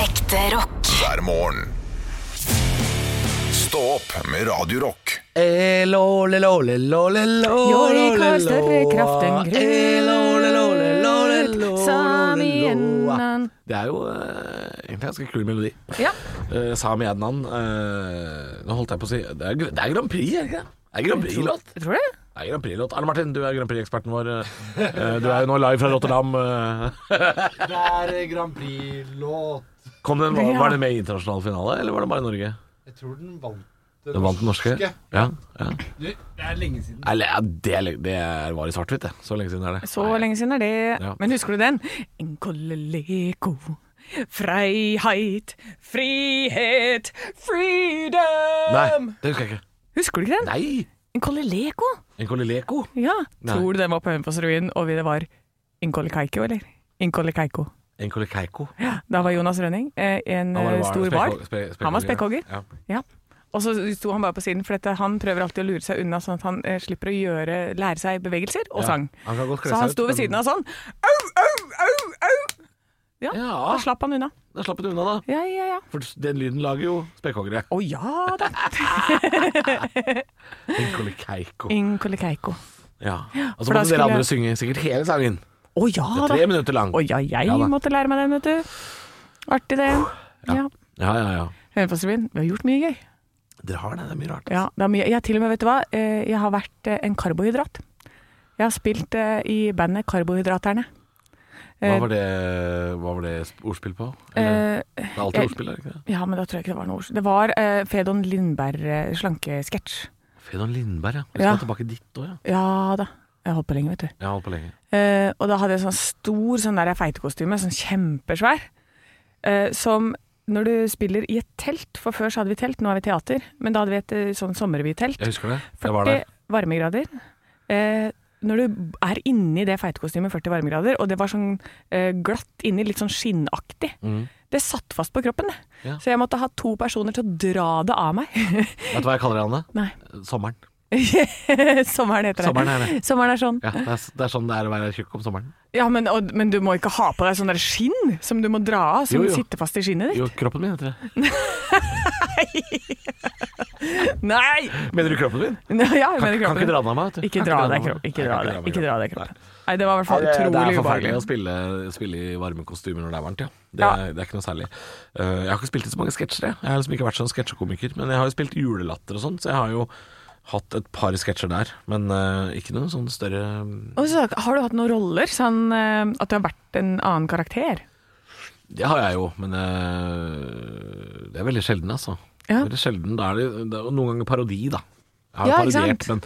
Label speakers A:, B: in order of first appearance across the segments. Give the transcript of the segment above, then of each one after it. A: Ekte rock.
B: hver morgen. Stå opp med Radio Rock.
C: Elo, lelo, lelo, lelo,
D: Jordi har
C: lelo.
D: større kraft enn
C: Elo, lelo, lelo, lelo,
D: grøt, Sami
C: lelo.
D: Ennan.
C: Det er jo eh, egentlig en ganske kul melodi.
D: Ja.
C: Eh, Sami Adnan eh, Nå holdt jeg på å si Det er, gr- det er Grand Prix, er det ikke det? Det er Grand Prix-låt.
D: Tror du det?
C: Det er Grand Prix-låt. Arne Martin, du er Grand Prix-eksperten vår. Eh, Du er jo nå live fra Rotterdam. eh.
E: Det er Grand Prix-låt.
C: Kom den, var, var den med i internasjonal finale, eller var det bare Norge?
E: Jeg tror den vant
C: Den vant den norske? Ja. ja.
E: Du, det er lenge siden.
C: Nei, ja, det, er le- det er- var i svart-hvitt, det. Så lenge siden er det.
D: Så lenge siden er det.
C: Ja.
D: Men husker du den? En kolleleko. Freiheit, frihet, freedom.
C: Nei, det husker jeg ikke.
D: Husker du ikke den?
C: Nei!
D: En kolleleko?
C: En kolileko?
D: Ja.
C: Nei.
D: Tror du den var på Hønefoss-revyen, og det var en kollekaiko, eller? En kollekaiko.
C: En kolikeiko?
D: Ja, da var Jonas Rønning eh, en eh, stor bar. Han var spekkhogger.
C: Ja.
D: Ja. Og så sto han bare på siden, for dette, han prøver alltid å lure seg unna, sånn at han eh, slipper å gjøre, lære seg bevegelser og
C: Ja.
D: sang.
C: Han kan godt kle
D: så
C: seg
D: han
C: ut,
D: sto ved
C: men-
D: siden av sånn. Au, au, au, au! Ja,
C: Ja.
D: da slapp han unna.
C: Da slapp du unna, da.
D: Ja, ja, ja.
C: For den lyden lager jo spekkhoggere.
D: Å ja da.
C: En kolikeiko.
D: Inkolikeiko.
C: Ja. Og så
D: for da
C: måtte dere
D: skulle-
C: andre synge sikkert hele sangen.
D: Å ja da.
C: Tre minutter lang.
D: Å ja, jeg
C: Ja da.
D: måtte lære meg den, vet du. Artig det. Ja.
C: Ja, ja, ja.
D: Hønefossrevyen, vi har gjort mye gøy.
C: Dere har det. Det er mye rart.
D: Ja, det er mye. Jeg har til og med, vet du hva, eh, jeg har vært eh, en karbohydrat. Jeg har spilt eh, i bandet
C: Hva
D: Karbohydraterne. Eh,
C: var det, hva var det ordspill på? Eller,
D: Eh,
C: det er alltid
D: jeg-
C: ordspill, er det ikke det?
D: Ja, men da tror jeg ikke det var noe ord. Det var eh, Fedon Lindberg eh, slankesketsj.
C: Fedon Lindberg, ja. Vi skal
D: Ja.
C: tilbake dit òg, ja.
D: Ja da. Jeg har holdt på lenge, vet du.
C: Jeg har holdt på lenge.
D: Eh, og da hadde jeg sånn stor sånn der feitekostyme, sånn kjempesvær, eh, som når du spiller i et telt, for før så hadde vi telt, nå har vi teater, men da hadde vi et eh, sånn sommerrevytelt.
C: Jeg husker det. Jeg var
D: 40
C: der.
D: varmegrader. Eh, når du er inni det feitekostymet, 40 varmegrader, og det var sånn eh, glatt inni, litt sånn skinnaktig,
C: Mhm.
D: det satt fast på kroppen, det.
C: Ja.
D: Så jeg måtte ha to personer til å dra det av meg.
C: Vet du hva jeg kaller det, Anne?
D: Nei.
C: Sommeren.
D: Sommeren heter det.
C: Sommeren er det.
D: Sommeren er sånn.
C: Ja, det er, det er sånn det er å være tjukk om sommeren.
D: Ja, men, og, men du må ikke ha på deg sånn der skinn som du må dra av, som
C: Jo, jo.
D: sitter fast i skinnet ditt.
C: Jo, kroppen min heter det.
D: Nei!
C: Mener du kroppen min?
D: Nei, Ja, jeg
C: Kan, kan
D: mener
C: ikke
D: kroppen.
C: dra den av meg. vet du.
D: Ikke
C: Kan
D: dra
C: den
D: deg
C: av
D: kropp.
C: meg.
D: Ikke
C: Nei,
D: dra
C: kan
D: deg,
C: den av meg
D: ikke dra deg
C: kroppen.
D: kroppen. Nei, det var i hvert fall
C: Nei, det- Det
D: utrolig
C: er altså. forferdelig å
D: ubehagelig.
C: spille, spille i varme kostymer når det er varmt, ja. Det,
D: Ja.
C: Er, det er ikke noe særlig. Eh, jeg har ikke spilt i så mange sketsjer, jeg. Jeg har liksom ikke vært sånn sketsjekomiker. Men jeg har jo spilt julelatter og sånn, så jeg har jo hatt et par sketsjer der. Men eh, ikke noe sånn større
D: Og så har du hatt noen roller, sånn eh, at du har vært en annen karakter.
C: Det har jeg jo, men eh, det er veldig sjelden, altså.
D: Ja.
C: Veldig sjelden. Da er det, det er jo noen ganger parodi, da. Jeg har
D: Ja,
C: jo
D: ikke
C: parodiert, men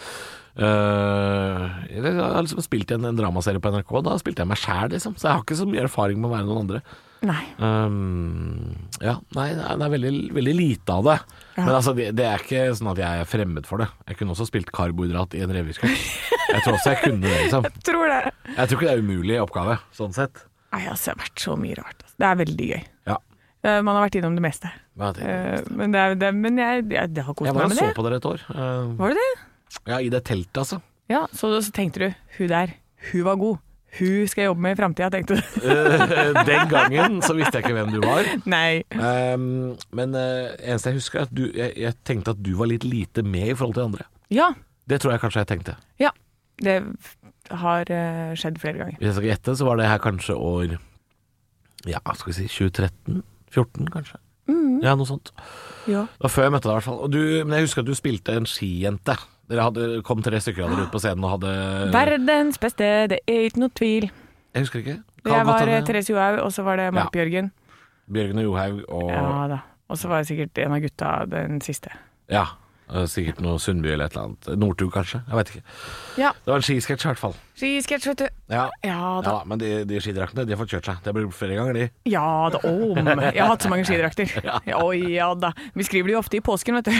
C: eh, Jeg har liksom spilt i en, en dramaserie på NRK, da spilte jeg meg sjæl, liksom. Så jeg har ikke så mye erfaring med å være noen andre.
D: Nei.
C: Um, ja, nei, det er- det er veldig, veldig lite av det.
D: Ja.
C: Men altså, det, det er ikke sånn at jeg er fremmed for det. Jeg kunne også spilt karbohydrat i en revysketsj. Jeg tror også jeg kunne det, liksom.
D: Tror det.
C: Jeg tror ikke det er umulig oppgave, sånn sett.
D: Nei, altså, jeg har vært så mye rart. altså. Det er veldig gøy.
C: Ja.
D: Eh, Man har vært innom det meste.
C: Men jeg,
D: Eh, Men, det er, det, men jeg, jeg, jeg har kost
C: jeg var
D: meg
C: og
D: med
C: så
D: det.
C: på dere et år. Uh,
D: Var det det?
C: Ja, i det teltet, altså.
D: Ja, så, så tenkte du, hun der, hun var god. Hun skal jeg jobbe med i framtida, tenkte du.
C: Eh, Den gangen så visste jeg ikke hvem du var.
D: Nei.
C: Um, men uh, eneste jeg husker, er at du, jeg, jeg tenkte at du var litt lite med i forhold til de andre.
D: Ja.
C: Det tror jeg kanskje jeg tenkte.
D: ja. Det f- har eh, skjedd flere ganger.
C: Hvis jeg skal gjette, så var det her kanskje år Ja, skal vi si 2013? 14 kanskje? Ja, noe sånt. Det
D: Ja.
C: var før jeg møtte deg, i hvert fall. Og du, men jeg husker at du spilte en skijente. Dere hadde, kom tre stykker av dere ut på scenen og hadde
D: Verdens beste, det er ikke noe tvil.
C: Jeg husker ikke. Kan
D: Jeg
C: godt
D: var eh,
C: hende.
D: Therese Johaug, og så var det Mark Bjørgen.
C: Bjørgen og Johaug og Ja.
D: Ja da. Og så var jeg sikkert en av gutta den siste.
C: eh, Sikkert noe Sundby eller et eller annet. Northug, kanskje. Jeg vet ikke.
D: Ja.
C: Det var en skisketsj, i hvert fall.
D: Skisketsj, vet du.
C: Ja.
D: Ja
C: Ja
D: da.
C: da, men de, de skidraktene, de har fått kjørt seg. Det har blitt flere ganger, de.
D: Ja da, om. Jeg har hatt så mange skidrakter. Ja, Oi, ja da. Vi skriver det jo ofte i påsken, vet du.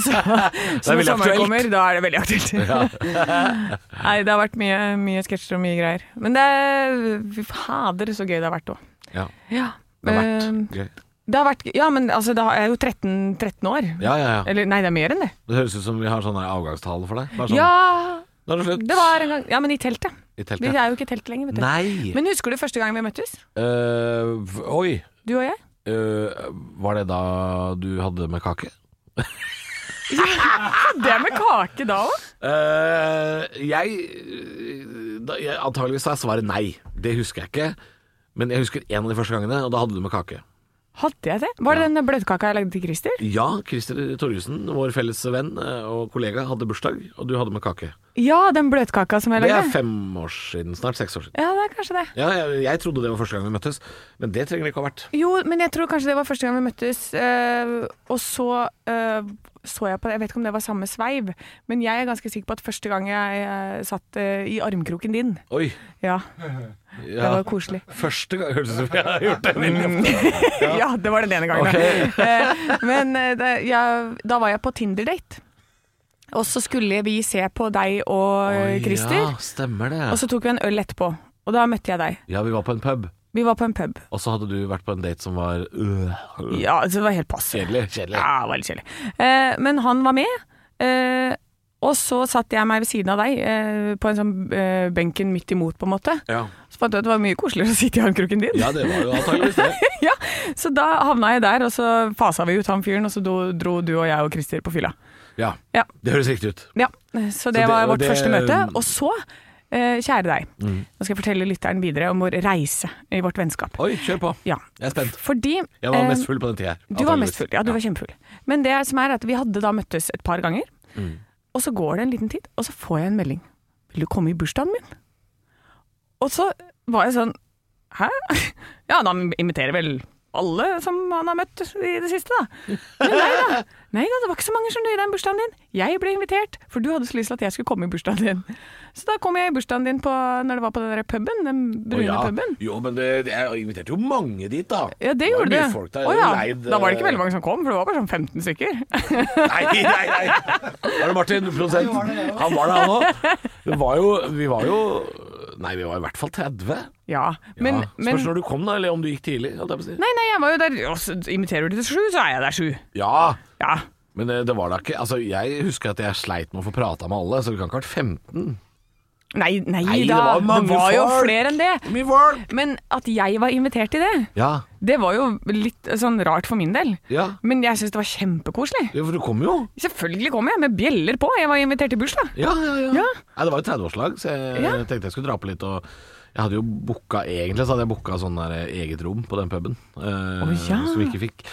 D: Så, så når
C: veldig aktuelt.
D: sommeren kommer, da er det veldig aktuelt. Nei, det har vært mye, mye sketsjer og mye greier. Men det er Fy fader, så gøy det har vært òg.
C: Ja,
D: Ja.
C: det har
D: Eh,
C: vært gøy.
D: det har vært Ja, men altså, da er jeg jo 13, 13 år.
C: Ja, ja, ja.
D: Eller nei, det er mer enn det.
C: Det høres ut som vi har sånn der avgangstale for deg. Bare sånn,
D: Ja,
C: Nå er det slutt.
D: det var en gang Ja, men i teltet.
C: I
D: Vi
C: teltet.
D: er jo ikke i telt lenger, vet du.
C: Nei!
D: Men husker du første gang vi møttes?
C: Eh, v- oi.
D: Du og jeg?
C: øh, Var det da du hadde med kake?
D: Det med kake da òg?
C: Eh, jeg, eh, da, jeg Antageligvis er svaret nei. Det husker jeg ikke. Men jeg husker en av de første gangene, og da hadde du med kake.
D: Hadde jeg det? Var det den bløtkaka jeg lagde til Christer?
C: Ja, Christer Torjussen, vår felles venn eh, og kollega, hadde bursdag, og du hadde med kake.
D: Ja, den bløtkaka som jeg
C: Det er
D: lagde.
C: fem år siden, snart seks år siden.
D: Ja, det er kanskje det.
C: Ja, jeg, jeg trodde det var første gang vi møttes, men det trenger det ikke å ha vært.
D: Jo, men jeg tror kanskje det var første gang vi møttes. eh, og så eh, så jeg på det, jeg vet ikke om det var samme sveiv, men jeg er ganske sikker på at første gang jeg eh, satt eh, i armkroken din.
C: Oi,
D: Ja, det
C: ja.
D: var koselig.
C: Første gang Høres ut som jeg har gjort det.
D: Ja, det var den ene gangen.
C: Ok.
D: Eh, men eh, det, jeg, da var jeg på Tinder-date, og så skulle vi se på deg og eh, Christer.
C: Ja, stemmer det.
D: Og så tok vi en øl etterpå, og da møtte jeg deg.
C: Ja, vi var på en pub,
D: Vi var på en pub.
C: og så hadde du vært på en date som var øh,
D: Ja, altså, det var helt passe.
C: kjedelig. kjedelig.
D: Ja, det var litt kjedelig. Eh, men han var med, eh, og så satt jeg meg ved siden av deg eh, på en sånn eh, benken midt imot, på en måte.
C: Ja.
D: Så fant jeg ut at det var mye koseligere å sitte i armkroken din.
C: ja, det var jo antageligvis det.
D: Ja, Så da havna jeg der, og så fasa vi ut han fyren, og så do, dro du og jeg og Christer på fylla.
C: Ja,
D: Ja.
C: Det høres riktig ut.
D: Ja, Så
C: det-
D: det var
C: og
D: vårt
C: det- Mm.
D: første møte. Og så, eh, kjære deg, nå skal jeg fortelle lytteren videre om vår reise i vårt vennskap.
C: Oi, kjør på.
D: Ja,
C: Jeg er spent.
D: fordi
C: Jeg var
D: eh,
C: mest full på den tida. her,
D: Du var
C: antageligvis.
D: mest full, ja du var kjempefull. Men det som er at vi hadde da møttes et par ganger,
C: Mm.
D: og så går det en liten tid, og så får jeg en melding. Vil du komme i bursdagen min? Og så var jeg sånn, hæ? Ja, han inviterer vel alle som han har møtt i det siste da. Men nei da, nei da, det var ikke så mange som nøyde den bursdagen din. Jeg ble invitert, for du hadde så lyst til at jeg skulle komme i bursdagen din. Så da kom jeg i bursdagen din på, når det var på den der puben, den
C: Å,
D: brune
C: ja.
D: puben.
C: Jo, men det, jeg inviterte jo mange dit, da.
D: Ja, det gjorde det.
C: var mye folk der.
D: Å ja,
C: Leid,
D: da var det ikke
C: eh,
D: veldig mange som kom, for det var bare sånn 15 stykker.
C: Nei, nei, nei. Var det Martin, produsent?
E: var det, jeg også.
C: Han var det, han òg. Det var jo Vi var jo Nei, vi var i hvert fall 30.
D: Ja, men,
C: ja.
D: men
C: Spørs når du kom, da, eller om du gikk tidlig. holdt jeg på å si.
D: Nei, nei, jeg var jo der og så Inviterer du til sju, så er jeg der sju.
C: Ja,
D: Ja.
C: men eh, det var da ikke Altså, Jeg husker at jeg sleit med å få prata med alle, så det kan ikke ha vært 15.
D: Nei, nei,
C: Nei, det
D: da.
C: var mange
D: jo
C: folk.
D: flere enn det.
C: Mye folk!
D: Men at jeg var invitert til det,
C: Ja.
D: det var jo litt sånn rart for min del.
C: ja.
D: Men jeg syns det var kjempekoselig.
C: Jo, for du kom jo.
D: Selvfølgelig kom jeg med bjeller på. Jeg var invitert til bursdag.
C: Ja, ja, ja.
D: Ja.
C: Nei, det var jo 30-årslag, så jeg
D: Ja.
C: tenkte jeg skulle dra på litt. Og jeg hadde jo booka egentlig, så hadde jeg booka sånn der eget rom på den puben, eh,
D: Å, ja.
C: som vi ikke fikk.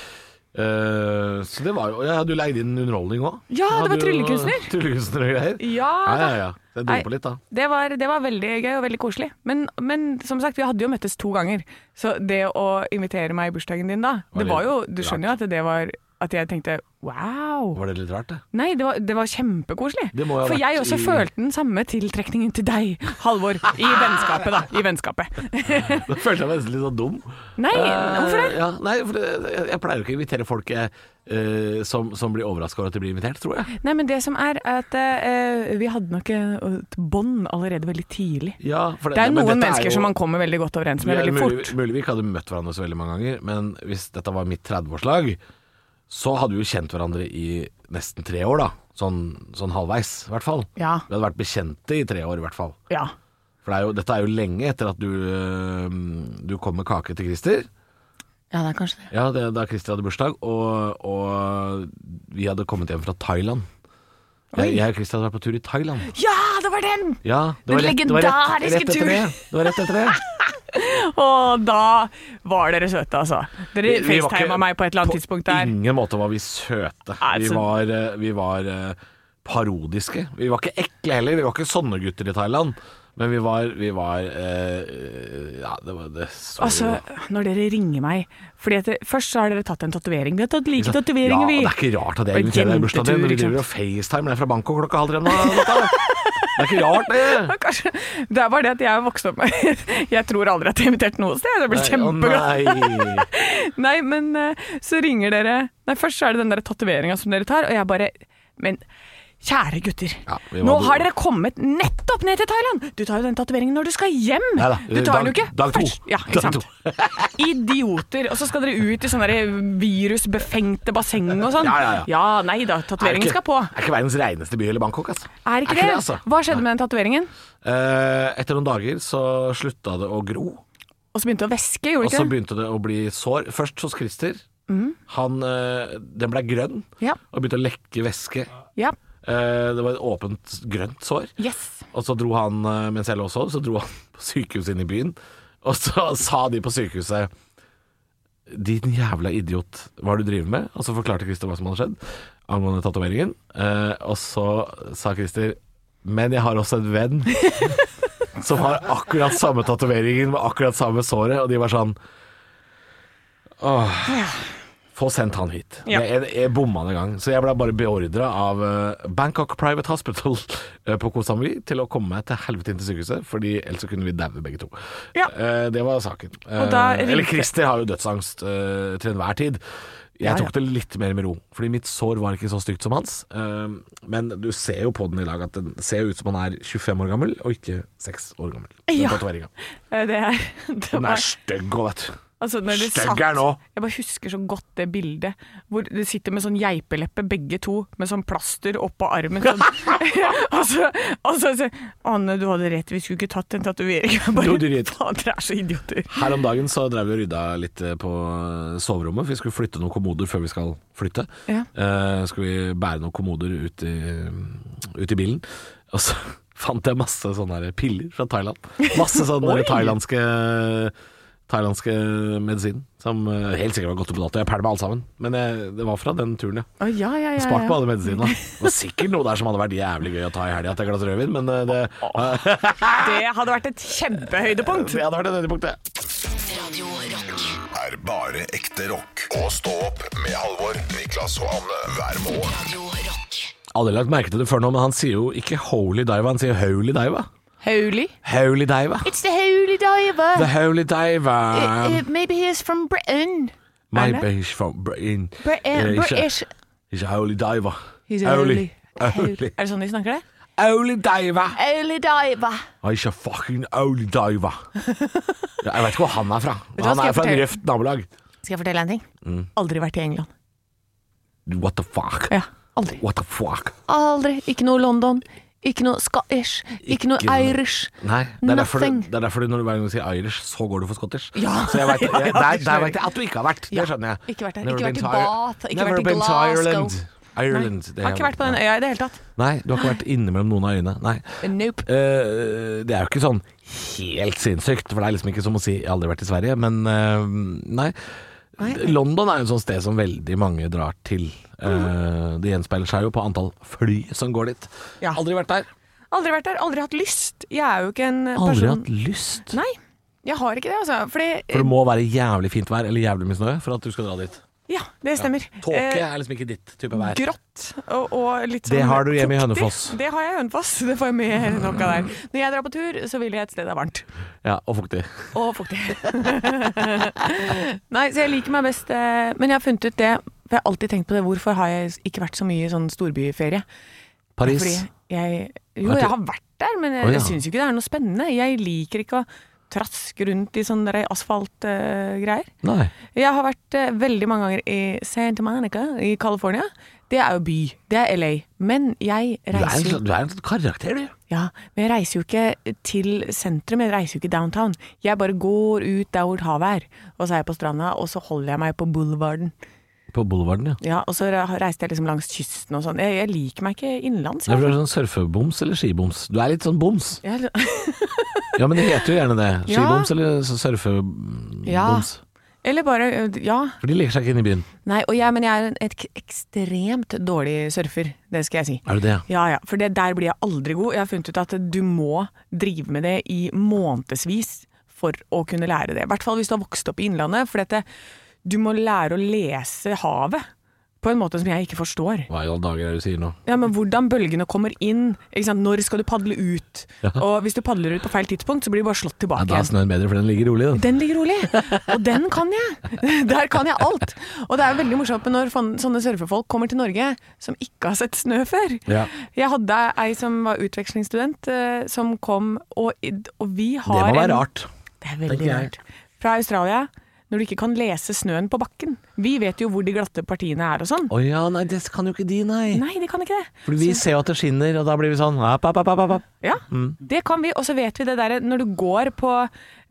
C: Eh, så det var jo og Jeg hadde jo leid inn underholdning òg.
D: Ja, det var tryllekunstner.
C: Tryllekunstner og greier.
D: Ja
C: Ja,
D: da.
C: ja, ja. Så jeg dro
D: Nei.
C: på litt, da.
D: Det var, det var veldig gøy og veldig koselig. Men, men som sagt, vi hadde jo møttes to ganger. Så det å invitere meg i bursdagen din da,
C: Var
D: det var
C: litt
D: jo Du skjønner jo at det var At jeg tenkte wow.
C: Var det litt rart, det?
D: Nei, det var, det var kjempekoselig.
C: Det må jo ha
D: For jeg
C: vært
D: også
C: i-
D: følte den samme tiltrekningen til deg, Halvor. I vennskapet, da. I vennskapet.
C: Da følte jeg meg nesten litt sånn dum.
D: Nei,
C: Eh,
D: hvorfor det?
C: Ja, nei, for det, jeg, jeg pleier jo ikke å invitere folk jeg, eh, som, som blir overraska over at de blir invitert, tror jeg.
D: Nei, men det som er, er at eh, vi hadde nok eh, et bånd allerede veldig tidlig.
C: Ja, for
D: Det er
C: men
D: noen
C: dette
D: mennesker
C: jo-
D: som man kommer veldig godt overens med
C: Vi er
D: veldig
C: mulig,
D: fort.
C: mulig vi ikke hadde møtt hverandre så veldig mange ganger, men hvis dette var mitt 30-årslag, så hadde vi jo kjent hverandre i nesten tre år, da. Sånn, sånn halvveis, i hvert fall.
D: Ja.
C: Vi hadde vært bekjente i tre år, i hvert fall.
D: Ja.
C: For det er jo, dette er jo lenge etter at du, øhm, du kom med kake til Christer.
D: ja, det er kanskje det.
C: Ja, det, da Christer hadde bursdag, og, og vi hadde kommet hjem fra Thailand. Jeg, jeg og Christer hadde vært på tur i Thailand.
D: Ja, det var den!
C: Ja, det var
D: Den
C: rett, det var rett,
D: legendariske
C: rett etter
D: turen.
C: det. Det var rett etter det.
D: Og da var dere søte, altså. Dere
C: Vi- vi var ikke-
D: facetima meg på et eller annet tidspunkt der.
C: På ingen måte var vi søte.
D: Nei,
C: Vi
D: så-
C: var, eh, vi var eh, parodiske. Vi var ikke ekle heller. Vi var ikke sånne gutter i Thailand. Men vi var, vi var eh, Ja, det var det så
D: Altså, når dere ringer meg Fordi at det, Først så har dere tatt en tatovering. Vi har tatt like tatoveringer,
C: ja,
D: vi.
C: Det er ikke rart at
D: Og
C: jeg inviterer deg i bursdagen din. når Vi
D: jentetur, ikke sant?
C: driver og FaceTime deg fra Bangkok klokka halv tre nå. Lotta. Det er ikke rart, det.
D: Ja, Kanskje. Det er bare det at jeg er vokst opp med Jeg tror aldri at jeg er invitert noe sted. Jeg blir kjempeglad.
C: Å, nei.
D: Nei, men eh, så ringer dere Nei, først så er det den der tatoveringa som dere tar, og jeg bare Men kjære gutter,
C: Ja, vi var
D: nå
C: du-
D: har dere kommet nettopp ned til Thailand! Du tar jo den tatoveringen når du skal hjem!
C: Neida,
D: du tar
C: dag-
D: den jo ikke
C: dag to.
D: først. Ja,
C: Dag
D: ikke sant. Idioter. Og så skal dere ut i sånne der virusbefengte basseng og sånn.
C: Ja, ja, ja.
D: nei da,
C: Er
D: tatoveringen
C: ikke,
D: skal på.
C: er ikke verdens reineste by eller Bangkok, altså.
D: Er ikke det?
C: altså.
D: Hva skjedde med den tatoveringen?
C: Eh, etter noen dager så slutta det å gro.
D: Og så begynte det å væske, gjorde
C: Og så
D: det ikke det?
C: begynte det å bli sår. Først hos Christer. Han, eh, den ble grønn
D: Ja.
C: og begynte å lekke væske.
D: ja.
C: Eh, det var et åpent grønt sår.
D: Yes.
C: Og så dro han, eh, mens jeg lå og sov, så dro han på sykehuset inn i byen. Og så sa de på sykehuset Din jævla idiot, hva er det du driver med? Og så forklarte Christer hva som hadde skjedd angående tatoveringen. Eh, og så sa Christer Men jeg har også en venn som har akkurat samme tatoveringen med akkurat samme såret. Og de var sånn Åh. Få sendt han hit.
D: Ja.
C: Men Jeg, jeg bomma en gang, så jeg ble bare beordra av eh, Bangkok Private Hospital eh, på Koh Samui til å komme meg til helvete inn til sykehuset, Fordi ellers så kunne vi daue begge to.
D: Ja.
C: Eh, det var saken. Eh,
D: Og da
C: Eller
D: ringte-
C: Christer har jo dødsangst eh, til enhver tid. Jeg
D: Ja,
C: tok det litt mer med ro, fordi mitt sår var ikke så stygt som hans. Eh, men du ser jo på den i dag at den ser jo ut som han er 25 år gammel, og ikke 6 år gammel. Den
D: Ja.
C: tatoveringen.
D: Eh, Det er, det
C: Den er
D: var-
C: stygg òg, vet du.
D: Altså, når de
C: Stygg
D: satt-
C: er nå.
D: Jeg bare husker så godt det bildet hvor de sitter med sånn geipeleppe, begge to, med sånn plaster oppå armen. Sånn. og så og så sier Anne, du hadde rett, vi skulle ikke tatt en tatovering. Jeg
C: Du
D: Bare,
C: hadde rett.
D: faen, dere er så idioter.
C: Her om dagen så drev vi og rydda litt eh, på soverommet. for Vi skulle flytte noen kommoder før vi skal flytte.
D: Ja.
C: Eh, skal vi bære noen kommoder ut i, ut i bilen. Og så fant jeg masse sånne her piller fra Thailand. Masse sånne
D: Oi!
C: der thailandske Thailandske medisin, som eh, helt sikkert var gått ut på dato. Jeg pælma alt sammen. Men jeg, det var fra den turen, ja.
D: Å, ja, ja, ja, ja.
C: Spart på alle medisinene. Det var sikkert noe der som hadde vært jævlig gøy å ta i helga til et glass rødvin, men eh, det,
D: Det hadde vært et kjempehøydepunkt.
C: det hadde vært et høydepunkt, det.
A: Radio Rock.
B: Er bare ekte rock. Og stå opp med Halvor, Niklas og Anne hver morgen.
A: Radio Rock.
C: Aldri lagt merke til det før nå, men han sier jo ikke 'holy diva', han sier 'holy diva'.
D: Holy.
C: Holy diva.
F: It's the Holy
C: The
F: Diver.
C: holy diva.
F: Uh, uh, maybe he's from Britain. eh,
C: My
D: er det?
C: baby's from Britain.
F: Britain,
C: Yeah, he's a-
F: British.
C: He's a holy diva.
F: He's a
C: Holy.
D: Er det sånn de snakker det?
C: Holy diva. Oh,
F: Holy Diver.
C: He's a fucking holy diva. Ja, Jeg vet ikke hvor han er fra.
D: du hva,
C: Han er
D: skal jeg
C: fra et
D: fortelle-
C: røft nabolag.
D: Skal jeg fortelle en ting?
C: Mm.
D: Aldri vært i England.
C: What the fuck?
D: Ja, aldri.
C: What the fuck?
F: Aldri. Ikke noe London. Ikke noe Scottish. Ikke noe
C: Ikke noe-
F: Irish.
C: Nei, det er, derfor du,
F: Nothing.
C: det er derfor du når du hver gang du sier Irish, så går du for Scottish.
D: Ja.
C: Så jeg vet, jeg,
D: Ja,
C: der,
D: ja, det
C: der
D: skjønner
C: vet jeg at du ikke har vært. Det skjønner jeg.
F: Ikke vært der.
C: Never
F: Ikke vært
C: been
F: i
C: to Ir-
F: Bath, ikke
C: Never
F: vært i
C: been to
F: Glasgow.
C: Ireland. Ireland. det
D: Har ikke vært på den øya i det hele tatt.
C: Nei, du har ikke vært inne mellom noen av øyene. Nei.
D: Nope.
C: Eh, det er jo ikke sånn helt sinnssykt, for det er liksom ikke som å si 'jeg har aldri vært i Sverige', men eh, nei. London er jo et sånt sted som veldig mange drar til. Eh, det gjenspeiler seg jo på antall fly som går dit.
D: Ja.
C: Aldri vært der.
D: Aldri vært der, aldri hatt lyst. Jeg er jo ikke en eh, person
C: Aldri hatt lyst.
D: Nei, jeg har ikke det, altså. Fordi
C: For det må være jævlig fint vær eller jævlig mye snø for at du skal dra dit.
D: Ja, det stemmer.
C: Tåke
D: Eh,
C: er liksom ikke ditt type vær.
D: Grått og, og litt sånn
C: Det har du hjemme i
D: fuktig.
C: Hønefoss.
D: Det har jeg i Hønefoss. Det får jeg med nok av der. Når jeg drar på tur, så vil jeg et sted det er varmt.
C: Ja, og fuktig.
D: Og fuktig. Nei, så jeg liker meg best eh, Men jeg har funnet ut det, for jeg har alltid tenkt på det, hvorfor har jeg ikke vært så mye i sånn storbyferie?
C: Paris.
D: Fordi jeg
C: Har
D: Jo,
C: du-
D: jeg har vært der, men jeg,
C: Å, ja.
D: jeg syns jo ikke det er noe spennende. Jeg liker ikke å traske rundt i sånne asfaltgreier.
C: Nei.
D: Jeg har vært eh, veldig mange ganger i Santa Monica i California. Det er jo by. Det er LA. Men jeg
C: Du er en,
D: reiser jo
C: slags- du er en slags karakter, du.
D: ja, men jeg reiser jo ikke til sentrum, jeg reiser jo ikke downtown. Jeg bare går ut der hvor havet er, og så er jeg på stranda, og så holder jeg meg på boulevarden.
C: På Boulevarden, ja.
D: Ja, og så re- reiste jeg liksom langs kysten og sånn. Jeg, jeg liker meg ikke innenlands.
C: Det er
D: Jeg.
C: vel sånn surfeboms eller skiboms. Du er litt sånn boms.
D: Jeg,
C: Ja, men det heter jo gjerne det.
D: Ja.
C: Skiboms eller så- surfeboms.
D: Ja. eller bare Ja.
C: For de legger seg ikke inn i byen.
D: Nei, og jeg, men jeg er en ek ekstremt dårlig surfer. Det skal jeg si.
C: Er du det?
D: Ja, ja, for det der blir jeg aldri god. Jeg har funnet ut at du må drive med det i månedsvis for å kunne lære det. I hvert fall hvis du har vokst opp i Innlandet, for dette, du må lære å lese havet på en måte som jeg ikke forstår.
C: Hva i alle dager er det du sier nå?
D: Ja, men Hvordan bølgene kommer inn, ikke sant? når skal du padle ut? Og hvis du padler ut på feil tidspunkt, så blir du bare slått
C: Ja,
D: tilbake
C: da er
D: igjen.
C: snøen bedre, for den ligger rolig, den.
D: Den ligger rolig, og den kan jeg. Der kan jeg alt. Og det er jo veldig morsomt når fan- sånne surfefolk kommer til Norge som ikke har sett snø før.
C: Ja.
D: Jeg hadde ei som var utvekslingsstudent, eh, som kom, og, i- og vi
C: Det
D: har
C: må være
D: en-
C: rart.
D: Det er veldig
C: tenker jeg.
D: rart. Fra Australia, når du ikke kan lese snøen på bakken. Vi vet jo hvor de glatte partiene er og sånn.
C: Å ja, nei, det kan jo ikke de, nei.
D: Nei, de kan ikke det.
C: For vi ser jo at det skinner, og da blir vi sånn app, app, app, app, app.
D: Ja, det kan vi. Og så vet vi det derre når du går på,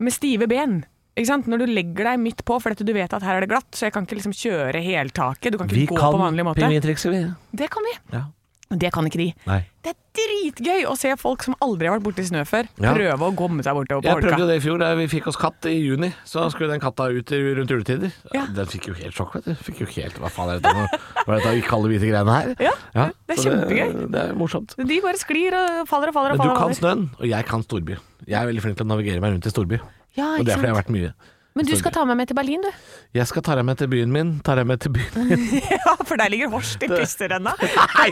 D: med stive ben. ikke sant? Når du legger deg midt på fordi at du vet at her er det glatt, så jeg kan ikke liksom kjøre heltaket. Du kan ikke
C: Vi
D: gå
C: kan
D: på vanlig måte.
C: pingvintrikset, vi.
D: Det kan vi.
C: Ja.
D: Det kan ikke de.
C: Nei.
D: Det er dritgøy å se folk som aldri har vært borti snø før,
C: Ja.
D: prøve å komme seg bortover på
C: Jeg prøvde jo
D: holka.
C: det i fjor. Da vi fikk oss katt i juni, så skulle den katta ut i- rundt juletider.
D: Ja.
C: Den fikk jo helt sjokk, vet du. Fikk jo helt Hva faen er dette nå? Hva er dette kalde, hvite greiene her?
D: Ja, det er
C: så
D: kjempegøy.
C: Det, det er morsomt.
D: De bare sklir og faller og faller. og
C: Men du
D: faller.
C: kan snøen, og jeg kan storby. Jeg er veldig flink til å navigere meg rundt i storby.
F: Ja,
C: Og det
F: ikke
C: er fordi jeg har
F: sant.
C: vært mye.
F: Men du skal ta meg med til Berlin, du.
C: Jeg skal ta deg med til byen min, ta deg med til byen min.
D: Ja, for der ligger Horst i pusterenna.
C: Nei!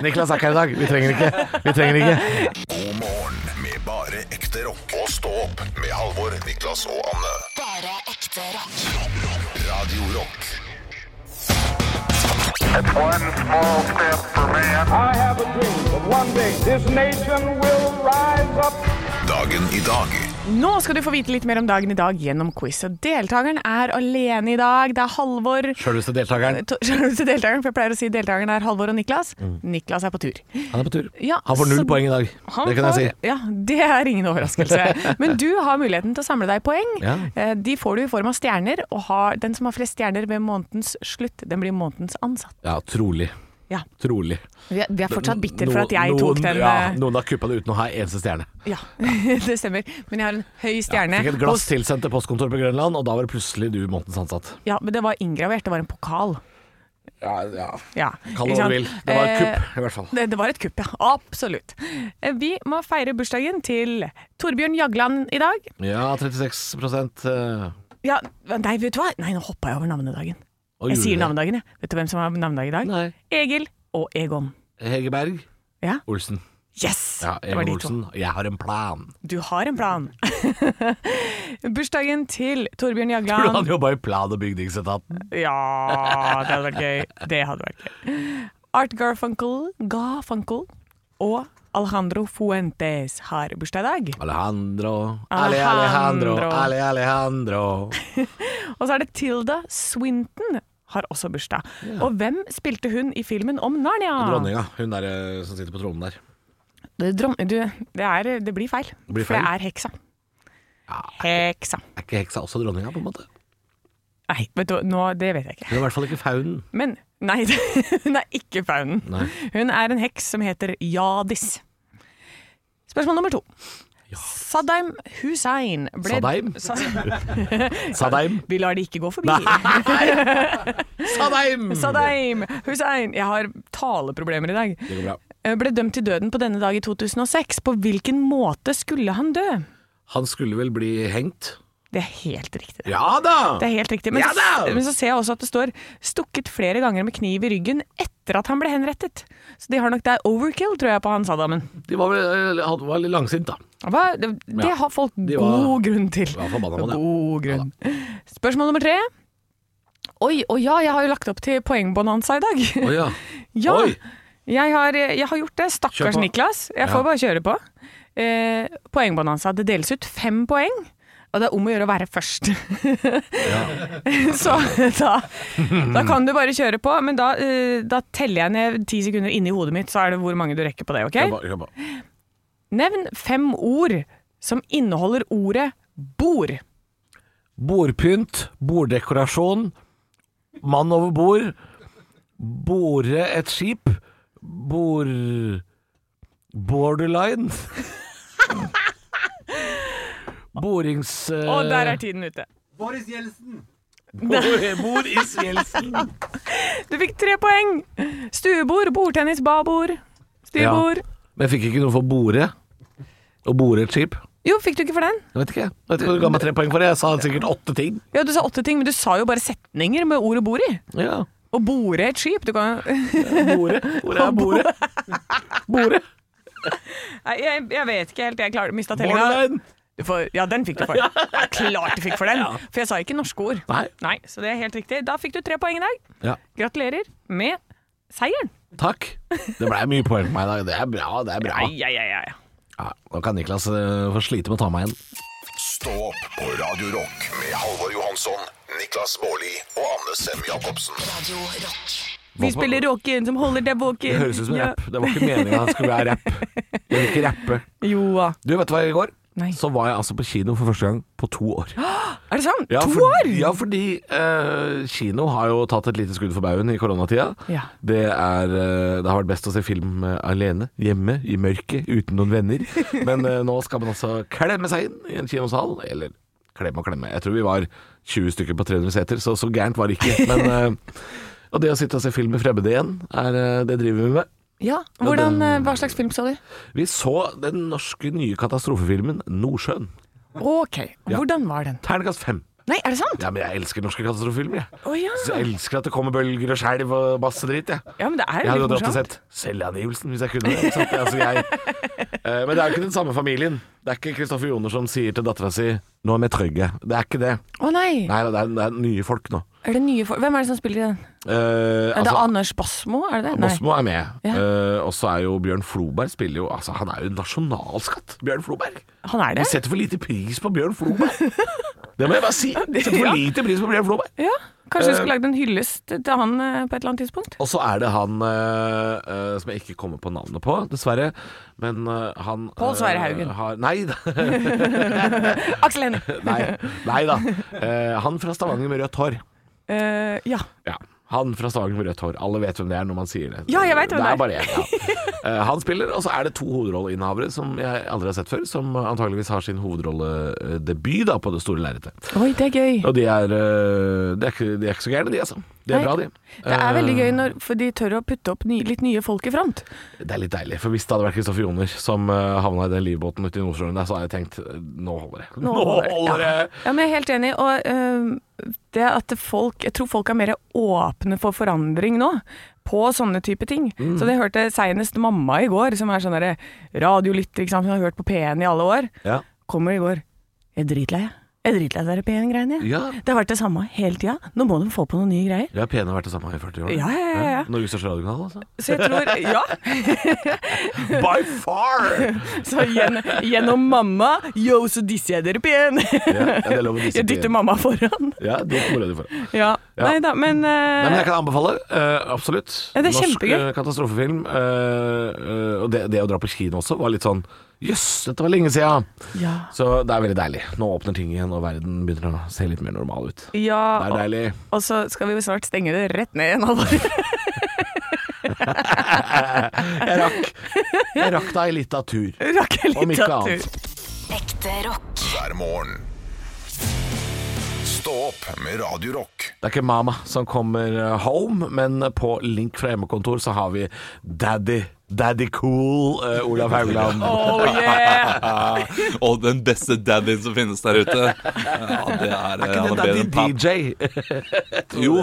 C: Niklas er ikke her i dag. Vi trenger ikke. Vi trenger ikke.
B: God morgen med bare ekte rock. Og stå opp med Halvor, Niklas og Anne.
A: Bare ekte rock.
B: Radio Rock.
G: It's one small step for man.
H: I have a dream that one day this nation will rise up.
B: Dagen i dag.
D: Nå skal du få vite litt mer om dagen i dag gjennom quiz. Og deltakeren er alene i dag. Det er Halvor.
C: Sjølveste deltakeren.
D: To- Skjønner du til deltakeren, for jeg pleier å si deltakeren er Halvor og Niklas.
C: Mm.
D: Niklas er på tur.
C: Han er på tur.
D: Ja,
C: Han får null
D: så-
C: poeng i dag.
D: Han
C: Det kan jeg
D: får-
C: si.
D: Ja, det er ingen overraskelse. Men du har muligheten til å samle deg poeng.
C: Ja.
D: Eh, De får du i form av stjerner, og har, den som har flest stjerner ved månedens slutt, den blir månedens ansatt.
C: Ja, trolig.
D: Ja.
C: Trolig.
D: Vi er, vi er fortsatt bitter
C: No-
D: for at jeg
C: noen,
D: tok den.
C: ja,
D: eh,
C: Noen har kuppa det uten å ha eneste stjerne.
D: Ja, det stemmer. Men jeg har en høy stjerne.
C: Fikk et glass tilsendt til postkontoret på Grønland, og da var det plutselig du månedens ansatt.
D: Ja, men det var inngravert, det var en pokal.
C: Ja, ja.
D: Ja,
C: Kall det hva
D: ikke
C: du
D: sant?
C: vil. Det var et
D: Eh,
C: kupp, i hvert fall.
D: Det, det var et kupp, ja. Absolutt. Eh, Vi må feire bursdagen til Torbjørn Jagland i dag.
C: Ja, 36 eh,
D: Ja, nei, vet du hva? Nei, nå hoppa jeg over navnedagen.
C: og
D: Jeg
C: gjorde
D: sier
C: det.
D: navnedagen, jeg. Vet du hvem som har navnedag i dag?
C: Nei.
D: Egil og Egon.
C: Hege Berg.
D: Ja.
C: Olsen.
D: Yes!
C: Ja,
D: det var
C: Egon
D: de to.
C: Olsen. Jeg har en plan.
D: Du har en plan. bursdagen til Torbjørn
C: Burde
D: Jagland.
C: han jobba i plan- og bygningsetaten?
D: Ja, det hadde vært gøy. Det hadde vært gøy. Art Garfunkel, Garfunkel og Alejandro Fuentes har bursdag i dag.
C: Alejandro, Ale Alejandro, Ale Alejandro.
D: Og så er det Tilda Swinton har også bursdag. Og hvem spilte hun i filmen om Narnia?
C: Dronninga, hun der eh, som sitter på tronen der.
D: Det, dron du, det, er, det blir feil.
C: blir
D: For det
C: feil.
D: er heksa. Heksa.
C: Er ikke heksa også dronninga, på en måte?
D: Nei, vet du, nå, det vet jeg ikke.
C: Hun er i hvert fall ikke faunen.
D: Men nei, hun er ikke faunen.
C: Nei.
D: Hun er en heks som heter Jadis. Spørsmål nummer to. Saddam Hussein ble
C: Saddam?
D: Sa
C: Sadeim.
D: Vi lar det ikke gå forbi.
C: Sadeim!
D: Saddam Hussein Jeg har taleproblemer i dag.
C: Det går bra.
D: eh, Ble dømt til døden på denne dag i 2006. På hvilken måte skulle han dø?
C: Han skulle vel bli hengt?
D: Det er helt riktig. det.
C: Ja da!
D: Det er helt riktig. Men,
C: Ja da!
D: men så ser jeg også at det står 'stukket flere ganger med kniv i ryggen' etter at han ble henrettet. Så de har nok det er overkill, tror jeg, på han Saddamen.
C: De var vel eh, han var litt langsint, da.
D: Hva? Det, det
C: Ja.
D: har folk
C: De var-
D: god grunn til.
C: var forbanna på det.
D: God grunn. Spørsmål nummer tre. Oi, og ja, jeg har jo lagt opp til poengbonanza i dag.
C: Å ja.
D: Ja,
C: Oi.
D: jeg har, eh, jeg har gjort det. Stakkars
C: Kjør på.
D: Niklas. Jeg
C: Ja.
D: får bare kjøre på. Eh, poengbonanza. Det deles ut fem poeng, og det er om å gjøre å være først. Så da, da kan du bare kjøre på, men da, eh, da teller jeg ned ti sekunder inni hodet mitt, så er det hvor mange du rekker på det, OK?
C: Jobba, jobba.
D: Nevn fem ord som inneholder ordet bord.
C: Bordpynt, borddekorasjon, mann over bord, bore et skip, bor... Borderline. Borings... eh,
D: Å, der er tiden ute.
E: Boris Jeltsin.
C: Boris Jeltsin.
D: Du fikk tre poeng. Stuebord, bordtennis, babord, styrbord.
C: Men jeg fikk ikke noe for bore. Og bore et skip.
D: Jo, fikk du ikke for den?
C: Jeg vet ikke. Jeg vet ikke hva du ga meg tre poeng for. Jeg sa sikkert åtte ting.
D: Ja, du sa åtte ting, men du sa jo bare setninger med ordet bord i.
C: Ja.
D: Og bore et skip. Du kan
C: Bore. Hvor er bore? Bore.
D: Nei, jeg, jeg vet ikke helt. Jeg klarer mista tellinga.
C: Borderline.
D: Du får- Ja, den fikk du for. Ja, klart du fikk for den! For jeg sa ikke norske ord.
C: Nei.
D: Nei, Så det er helt riktig. Da fikk du tre poeng i dag.
C: Ja.
D: Gratulerer med seieren.
C: Takk. Det blei mye poeng på meg i dag. Det er bra, det er bra.
D: Ja, ja, ja, ja.
C: Ja, nå kan Niklas eh, få slite med å ta meg igjen.
B: Stå opp på Radio Rock med Halvor Johansson, Niklas Baarli og Anne Sem Jacobsen.
A: Radio Rock.
D: Vi spiller rocken som holder deg våken.
C: Det høres ut som en
D: Ja.
C: rapp. Det var ikke meninga det skulle være rapp. Jeg vil ikke rappe.
D: Jo da.
C: Du, vet du hva jeg gjorde i går?
D: Nei.
C: så var jeg altså på kino for første gang på to år.
D: Er det sant?
C: Ja,
D: to
C: for-
D: år?!
C: Ja, fordi eh, kino har jo tatt et lite skudd for baugen i koronatida.
D: Ja.
C: Det, er, eh, det har vært best å se film eh, alene, hjemme, i mørket, uten noen venner. Men eh, nå skal man altså klemme seg inn i en kinosal. Eller klemme og klemme. Jeg tror vi var 20 stykker på 300 seter, så så gærent var det ikke. Men, eh, og det å sitte og se film med fremmede igjen, er, eh, det driver vi med.
D: Ja. Hvordan, eh, hva slags film så du?
C: Vi så den norske nye katastrofefilmen 'Nordsjøen'.
D: Ok, hvordan var den?
C: Terningkast fem.
D: Nei, er det sant?
C: Ja, men jeg elsker norske katastrofefilmer, jeg.
D: Å ja.
C: Så jeg elsker at det kommer bølger og skjelv og masse dritt, jeg.
D: ja, men det er
C: Jeg hadde
D: jo
C: jo
D: litt
C: dratt og
D: morsomt.
C: sett selvangivelsen hvis jeg kunne det. ikke sant? Altså, jeg, eh, men det er jo ikke den samme familien. Det er ikke Kristoffer Joner som sier til dattera si 'nå er vi trygge'. Det er ikke det.
D: Å nei.
C: Nei, det er, det er nye folk nå.
D: Er det nye for Hvem er det som spiller i den?
C: Eh,
D: Er det
C: altså,
D: Anders Basmo? Er det det? Nei.
C: Mosmo er med.
D: Ja.
C: Eh, og så er jo Bjørn Floberg spiller jo Altså, han er jo en nasjonalskatt, Bjørn Floberg.
D: Han er
C: Vi
D: det?
C: setter for lite pris på Bjørn Floberg. Det må jeg bare si. Vi Setter for
D: Ja.
C: lite pris på Bjørn Floberg.
D: Ja.
C: Eh,
D: Kanskje vi skulle lagd en hyllest til han eh, på et eller annet tidspunkt?
C: Og så er det han eh, eh, som jeg ikke kommer på navnet på, dessverre. Men eh, han
D: Pål Sverre
C: eh,
D: Haugen.
C: har- nei, da-
D: Aksel Hennie.
C: nei, nei da. Eh, han fra Stavanger med rødt hår.
D: Eh, ja.
C: Ja. Han fra Stavanger med rødt hår. Alle vet hvem det er når man sier det.
D: Ja, jeg vet hvem
C: det er.
D: det er.
C: Bare jeg, ja. Eh, han spiller, og så er det to hovedrolleinnehavere som jeg aldri har sett før, som antageligvis har sin hovedrolledebut da, på det store lerretet.
D: Oi, det er gøy.
C: Og de er, eh, de er, ikke, de er ikke så gærne, de, altså. De er
D: Nei.
C: bra, de.
D: Det er veldig
C: Eh,
D: gøy når, for de tør å putte opp ny, litt nye folk i front.
C: Det er litt deilig, for hvis det hadde vært Kristoffer Joner som eh, havna i den livbåten ute i Nordsjøen der, så hadde jeg tenkt eh, nå holder det. Nå holder det!
D: Ja, men jeg er helt enig. Og øhm, det at folk Jeg tror folk er mer åpne for forandring nå. På sånne type ting.
C: Mm.
D: Så det hørte jeg senest mamma i går, som er sånn derre radiolytter, ikke sant. Hun har hørt på P1 i alle år.
C: Ja.
D: Kommer i går. Jeg er dritlei, jeg. Jeg er dritlei av de P1-greiene, jeg.
C: Ja.
D: Det har vært det samme hele tida. Nå må de få på noen nye greier.
C: Vi har pene vært det samme i 40 år.
D: Ja, ja, ja, ja.
C: Norges største radiokanal, altså.
D: Så jeg tror Ja.
C: By far!
D: Så gjennom, gjennom mamma Yo, så disser jeg dere P1.
C: ja, ja, det er lov å disse
D: Jeg dytter
C: til.
D: mamma foran.
C: Ja, det kommer du for. Nei,
D: Ja.
C: Ja.
D: Nei da, men, eh,
C: men jeg kan anbefale. eh, absolutt.
D: Ja, det er
C: Norsk
D: kjempegøy.
C: eh, katastrofefilm. eh, eh, og det, det å dra på kino også var litt sånn Jøss, dette var lenge sia!
D: ja.
C: Så det er veldig deilig. Nå åpner ting igjen, og verden begynner å se litt mer normal ut.
D: Ja,
C: Det er
D: og,
C: deilig.
D: og så skal vi jo snart stenge det rett ned igjen, Halvor.
C: Jeg rakk, jeg rakk deg litt av tur.
D: Rakk jeg
C: Om
D: litt
C: ikke
D: av tur.
C: annet.
A: Ekte rock.
B: hver morgen. Stå opp med Radio Rock.
C: Det er ikke mamma som kommer eh, home, men på link fra hjemmekontor så har vi daddy. Daddy Cool, eh, Olav Haugland.
D: Oh yeah!
I: Og den beste daddyen som finnes der ute. Ja, det er, eh,
C: Er ikke
I: han
C: det
I: er bedre enn
C: Daddy
I: pap.
C: DJ?
I: Jo,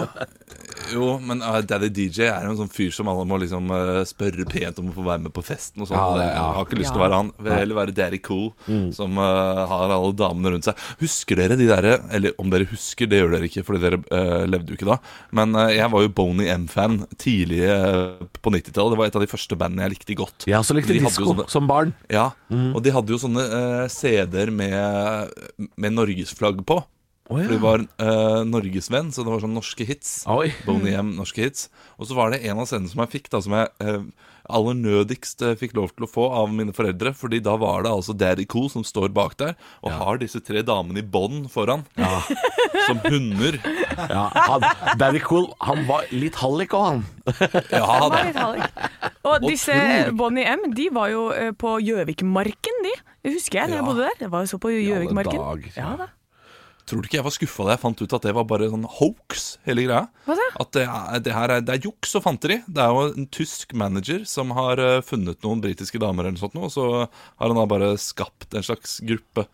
I: jo, men eh, Daddy DJ er jo en sånn fyr som alle må liksom eh, spørre pent om å få være med på festen. og sånt.
C: Ja, det- Mm. ja.
I: Jeg har ikke lyst til å være han. Vil heller være Daddy Cool, som eh, har alle damene rundt seg. Husker dere de derre Eller om dere husker, det gjør dere ikke, fordi dere eh, levde jo ikke da. Men eh, jeg var jo Boney M-fan tidlig eh, på 90-tallet. Det var et av de første bandene jeg likte godt.
C: Jeg også likte
I: De hadde jo sånn
C: disko
I: sånne-
C: som barn.
I: Ja,
C: Mhm.
I: og de hadde jo sånne eh, CD-er med, med Norgesflagg på.
C: Å, ja.
I: For de var eh, norgesvenn, så det var sånn norske hits.
C: Oi.
I: Boney M, norske hits. Og så var det en av scenene som jeg fikk, da, som jeg eh, aller nødigst eh, fikk lov til å få av mine foreldre. Fordi da var det altså Daddy Cool som står bak der, og har disse tre damene i bånd foran. Som hunder.
C: Ja, han, Daddy Cool, han var litt hallik òg, han.
I: Ja da.
D: Litt hallik. Og disse eh,
I: tror-
D: Bonnie M, de var jo eh, på Gjøvikmarken, de. Det husker jeg da jeg bodde der. Jeg var jo så på Gjøvikmarken.
C: dager.
D: Ja, da.
I: Tror du ikke jeg var skuffa da jeg fant ut at det var bare sånn hoax, hele greia?
D: Hva da?
I: At det er, det her er, det er juks og fanteri. Det er jo en tysk manager som har eh, funnet noen britiske damer, eller sånt noe, og så har han da bare skapt en slags gruppe.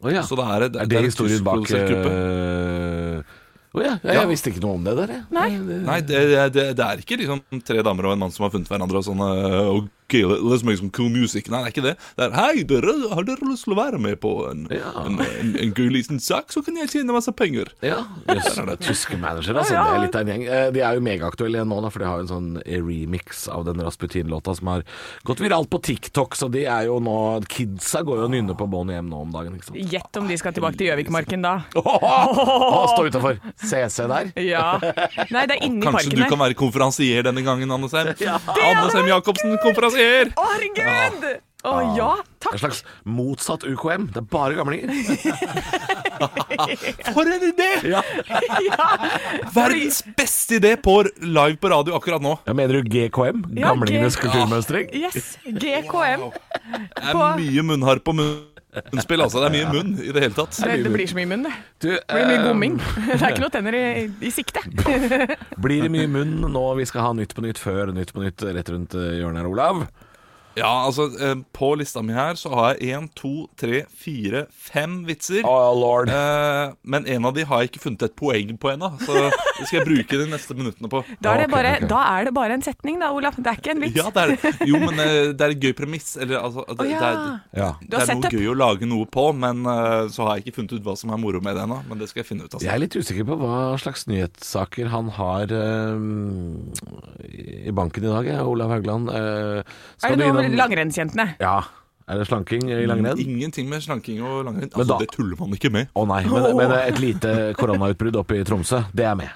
C: Å ja.
I: Så det er, det,
C: Er
I: det
C: det
I: er en
C: historien bak
I: tyskprodusert gruppe.
C: eh, Å ja. ja,
I: Ja.
C: jeg visste ikke noe om det der, jeg.
D: Nei.
I: Nei, det, det, det er ikke liksom tre damer og en mann som har funnet hverandre og sånn eh, Ok, let's make some cool music. Nei, det er ikke det. Det er Hei, dere, har dere lyst til å være med på en,
C: Ja.
I: en, en, en gøy liten sak, så kan jeg tjene masse penger?
C: Ja, jøss, det er tyske manager, altså.
D: Ja, ja.
C: Det er litt av en gjeng. Eh, De er jo megaaktuelle igjen nå, da, for de har jo en sånn remix av den Rasputin-låta som har gått viralt på TikTok, så de er jo nå Kidsa går jo og nynner på Bonnie M nå om dagen, ikke sant.
D: Gjett om de skal tilbake til Gjøvikmarken da.
C: Å, stå utafor! CC der.
D: Ja. Nei, det er inni
I: Kanskje du
D: parken
I: kan
D: der.
I: være konferansier denne gangen, Anne Sem? Anne Sem Jacobsen, konferansier!
D: Å, herregud! Å
I: Ah.
D: ja, takk!
C: En slags motsatt UKM. Det er bare gamlinger.
I: For en idé!
D: Ja,
I: Verdens beste idé på live på radio akkurat nå.
C: Ja, mener du GKM?
D: Ja,
C: Gamlingenes
D: G-
C: kulturmønstring?
D: yes, GKM.
I: Det er
D: På-
I: mye munnharp og munnspill, altså. Det er mye munn i det hele tatt.
D: Det, det blir så mye munn, det. Det
C: Du,
D: blir mye
C: eh,
D: gomming. Det er ikke noe tenner i, i sikte.
C: blir det mye munn nå vi skal ha Nytt på nytt før Nytt på nytt rett rundt eh, hjørnet her, Olav?
I: Ja, altså, eh, på lista mi her så har jeg én, to, tre, fire, fem vitser.
C: Oh, lord.
I: Eh, men en av de har jeg ikke funnet et poeng på ennå, så det skal jeg bruke de neste minuttene på.
D: Da er, det
C: Ok,
D: bare,
C: ok.
D: da er det bare en setning da, Olav. Det er ikke en vits.
I: Ja, det er det. Jo, men eh, det er et gøy premiss. Eller altså Det,
D: Å, ja.
I: det er,
C: Ja.
I: det
D: Du har
I: er noe
D: setup.
I: gøy å lage noe på, men eh, så har jeg ikke funnet ut hva som er moro med det ennå. Men det skal jeg finne ut, altså.
C: Jeg er litt usikker på hva slags nyhetssaker han har eh, i banken i dag, jeg, Olav Haugland. Eh, skal
D: er det
C: du
D: noe
C: innom-
D: med langrennsjentene?
C: Ja. Er det slanking i langrenn?
I: Ingenting med slanking og langrenn.
C: Men
I: Altså,
C: da-
I: det tuller man ikke med.
C: Å nei, men, men et lite koronautbrudd oppe i Tromsø, det er med.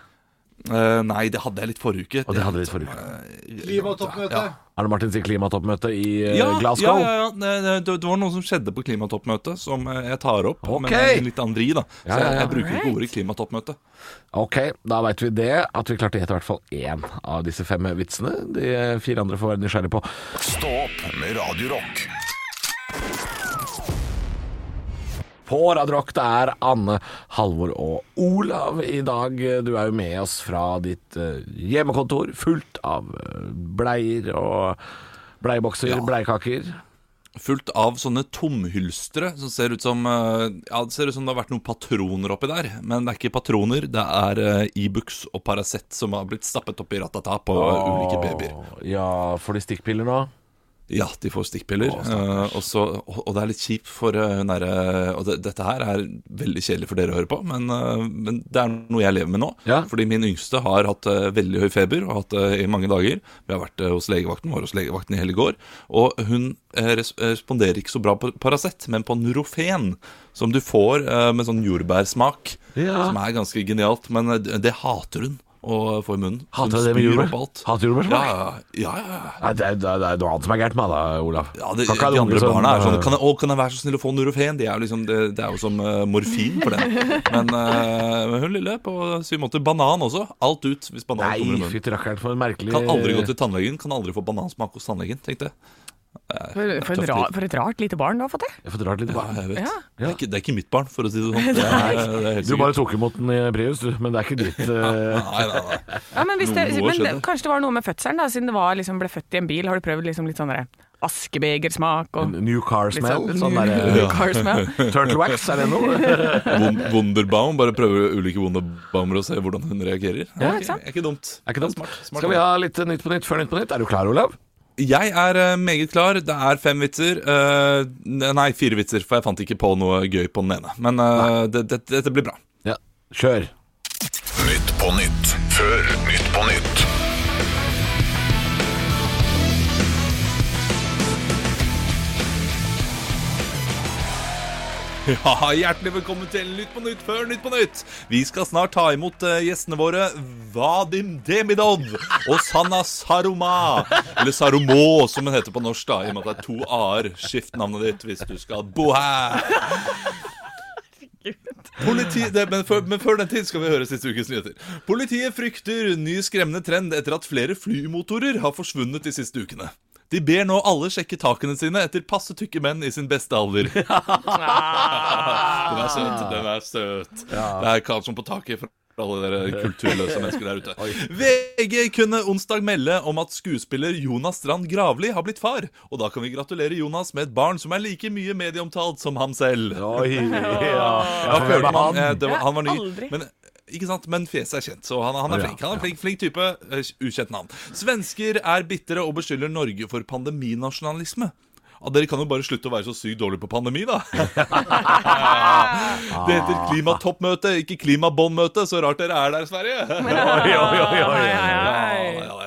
I: Eh, nei, det hadde jeg litt forrige uke. eh,
C: Og det hadde vi litt forrige uke.
E: Klimatoppmøte.
C: Arne Martin sitt klimatoppmøte i eh,
I: Ja, ja, ja,
C: Glasgow.
I: ja. Det, det, det var noe som skjedde på klimatoppmøtet, som eh, jeg tar opp.
C: Ok.
I: Men det er litt andre i, da. Så
C: Ja, ja,
I: jeg,
C: ja.
I: jeg bruker ikke
D: Alright.
I: ordet klimatoppmøte.
C: Ok, da veit vi det. At vi klarte å gjette i hvert fall én av disse fem vitsene. De eh, fire andre får være nysgjerrig på.
B: Stå opp med Radio Rock.
C: På Radio Rock, det er Anne, Halvor og Olav i dag. Du er jo med oss fra ditt eh, hjemmekontor, fullt av eh, bleier og bleiebokser,
I: Ja.
C: bleiekaker.
I: Fullt av sånne tomhylstre som ser ut som eh, Ja, det ser ut som det har vært noen patroner oppi der. Men det er ikke patroner, det er eh, Ibux og Paracet som har blitt stappet oppi ratata på eh, ulike babyer.
C: Å, Ja, får de stikkpiller nå?
I: Ja, de får stikkpiller. eh, og, så, og, og det er litt kjipt for eh, hun derre Og det, dette her er veldig kjedelig for dere å høre på, men, eh, men det er noe jeg lever med nå.
C: Ja.
I: Fordi min yngste har hatt eh, veldig høy feber og har hatt det i mange dager. Vi har vært eh, hos legevakten, var hos legevakten i hele går. Og hun eh, res responderer ikke så bra på Paracet, men på Nurofen, som du får eh, med sånn jordbærsmak.
C: Ja.
I: Som er ganske genialt, men eh, det det hater hun å få i munnen. Så
C: Hater
I: hun
C: hun det med
I: spyr
C: jordbær?
I: opp alt.
C: Hater hun jordbærsmak?
I: Ja, ja, ja. ja.
C: Nei, det, er, det er- det er noe annet som er gærent med deg, Olav.
I: Ja, det,
C: Kan ikke ha
I: de
C: en unge
I: andre
C: som,
I: barna er sånn
C: eh,
I: kan jeg, å, kan jeg være så snill å få Nurofen? Det er jo, liksom, det, det er jo som eh, morfin for dem. Men eh, men hun lille på syv måneder. Banan også. Alt ut hvis banan kommer i
C: Nei,
I: munnen.
C: fytti rakkeren, for en merkelig
I: Kan aldri gå til tannlegen. Kan aldri få banansmak hos tannlegen. Tenk det.
D: For, for, en
I: tøft
D: ra,
I: liv.
D: for et rart lite barn du har fått det.
C: Jeg får dra litt
I: Ja, jeg vet.
D: Ja.
I: Det, er ikke, det er ikke mitt barn, for å si det sånn. Det er, det er helt
C: Du bare
I: sikkert.
C: tok imot den i Prius, du, men det er ikke ditt eh,
I: Nei, nei, nei.
D: Ja, men hvis det,
I: Noe
D: men det,
I: skjedde.
D: kanskje det var noe med fødselen, da, siden det var, liksom, ble født i en bil. Har du prøvd liksom, litt sånn der askebegersmak og
C: New car smell.
D: litt
C: Sånn
D: new-
C: der,
D: new car smell?
C: turtle wax, er det noe?
I: Won- Wunderbaum. Bare prøve ulike Wunderbaumer og se hvordan hun reagerer.
D: Ja,
I: Ok,
D: ikke sant?
I: Er ikke dumt.
C: Er ikke dumt.
I: Smart, smart.
C: Skal vi ha litt Nytt på nytt før Nytt på nytt? Er du klar, Olav?
I: Jeg er eh, meget klar. Det er fem vitser. Eh, nei, fire vitser, for jeg fant ikke på noe gøy på den ene. Men eh, det, det, dette blir bra.
C: Ja. Kjør.
B: Nytt på nytt før Nytt på nytt.
I: Ja, Hjertelig velkommen til Nytt på Nytt før Nytt på Nytt. Vi skal snart ta imot eh, gjestene våre Vadim Demidov og Sanna Saroma. Eller Saromo, som hun heter på norsk, da, i og med at det er to a-er. Skift navnet ditt hvis du skal bo her. Politi, det, men, før, men før den tid skal vi høre siste ukes nyheter. Politiet frykter ny skremmende trend etter at flere flymotorer har forsvunnet de siste ukene. De ber nå alle sjekke takene sine etter passe tykke menn i sin beste alder. Den er søt. den er søt Det er Karlsson på taket for alle dere kulturløse mennesker der ute. VG kunne onsdag melde om at skuespiller Jonas Strand Gravli har blitt far. Og da kan vi gratulere Jonas med et barn som er like mye medieomtalt som ham selv.
C: Oi,
I: Ja,
C: ja.
I: for hvem er han? Eh,
C: han?
I: Det var, han var ny.
D: Aldri.
I: Men, ikke sant? Men fjeset er kjent, så han, han
C: Å,
I: er
C: ja,
I: flink. Han er flink, flink type. eh, Ukjent navn. Svensker er bitre og beskylder Norge for pandeminasjonalisme. Ja, dere kan jo bare slutte å være så sykt dårlige på pandemi, da. Det heter klimatoppmøte, ikke klimabåndmøte. Så rart dere er der, Sverige.
C: Oi, oi, oi, oi.
I: Ja, ja, ja, ja, ja.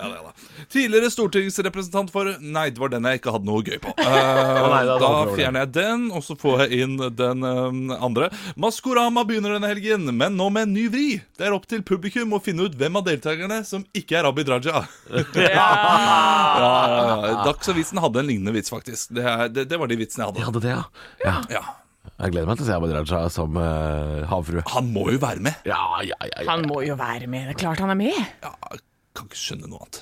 I: Tidligere stortingsrepresentant for Nei, det var den jeg ikke hadde noe gøy på. Eh,
C: nei, det hadde
I: da
C: aldri vært det.
I: fjerner jeg den, og så får jeg inn den eh, andre. Maskorama begynner denne helgen, men nå med en ny vri. Det er opp til publikum å finne ut hvem av deltakerne som ikke er Abid Raja. ja, ja, ja. Dagsavisen hadde en lignende vits, faktisk. Det, er, det, det var de vitsene
C: De
I: jeg hadde.
C: hadde det, ja. ja.
I: Ja.
C: Jeg gleder meg til å se Abid Raja som eh, havfrue.
I: Han må jo være med.
C: Ja, ja, ja, ja.
D: Han må jo være med. Det er klart han er med.
I: Ja, kan ikke skjønne noe annet.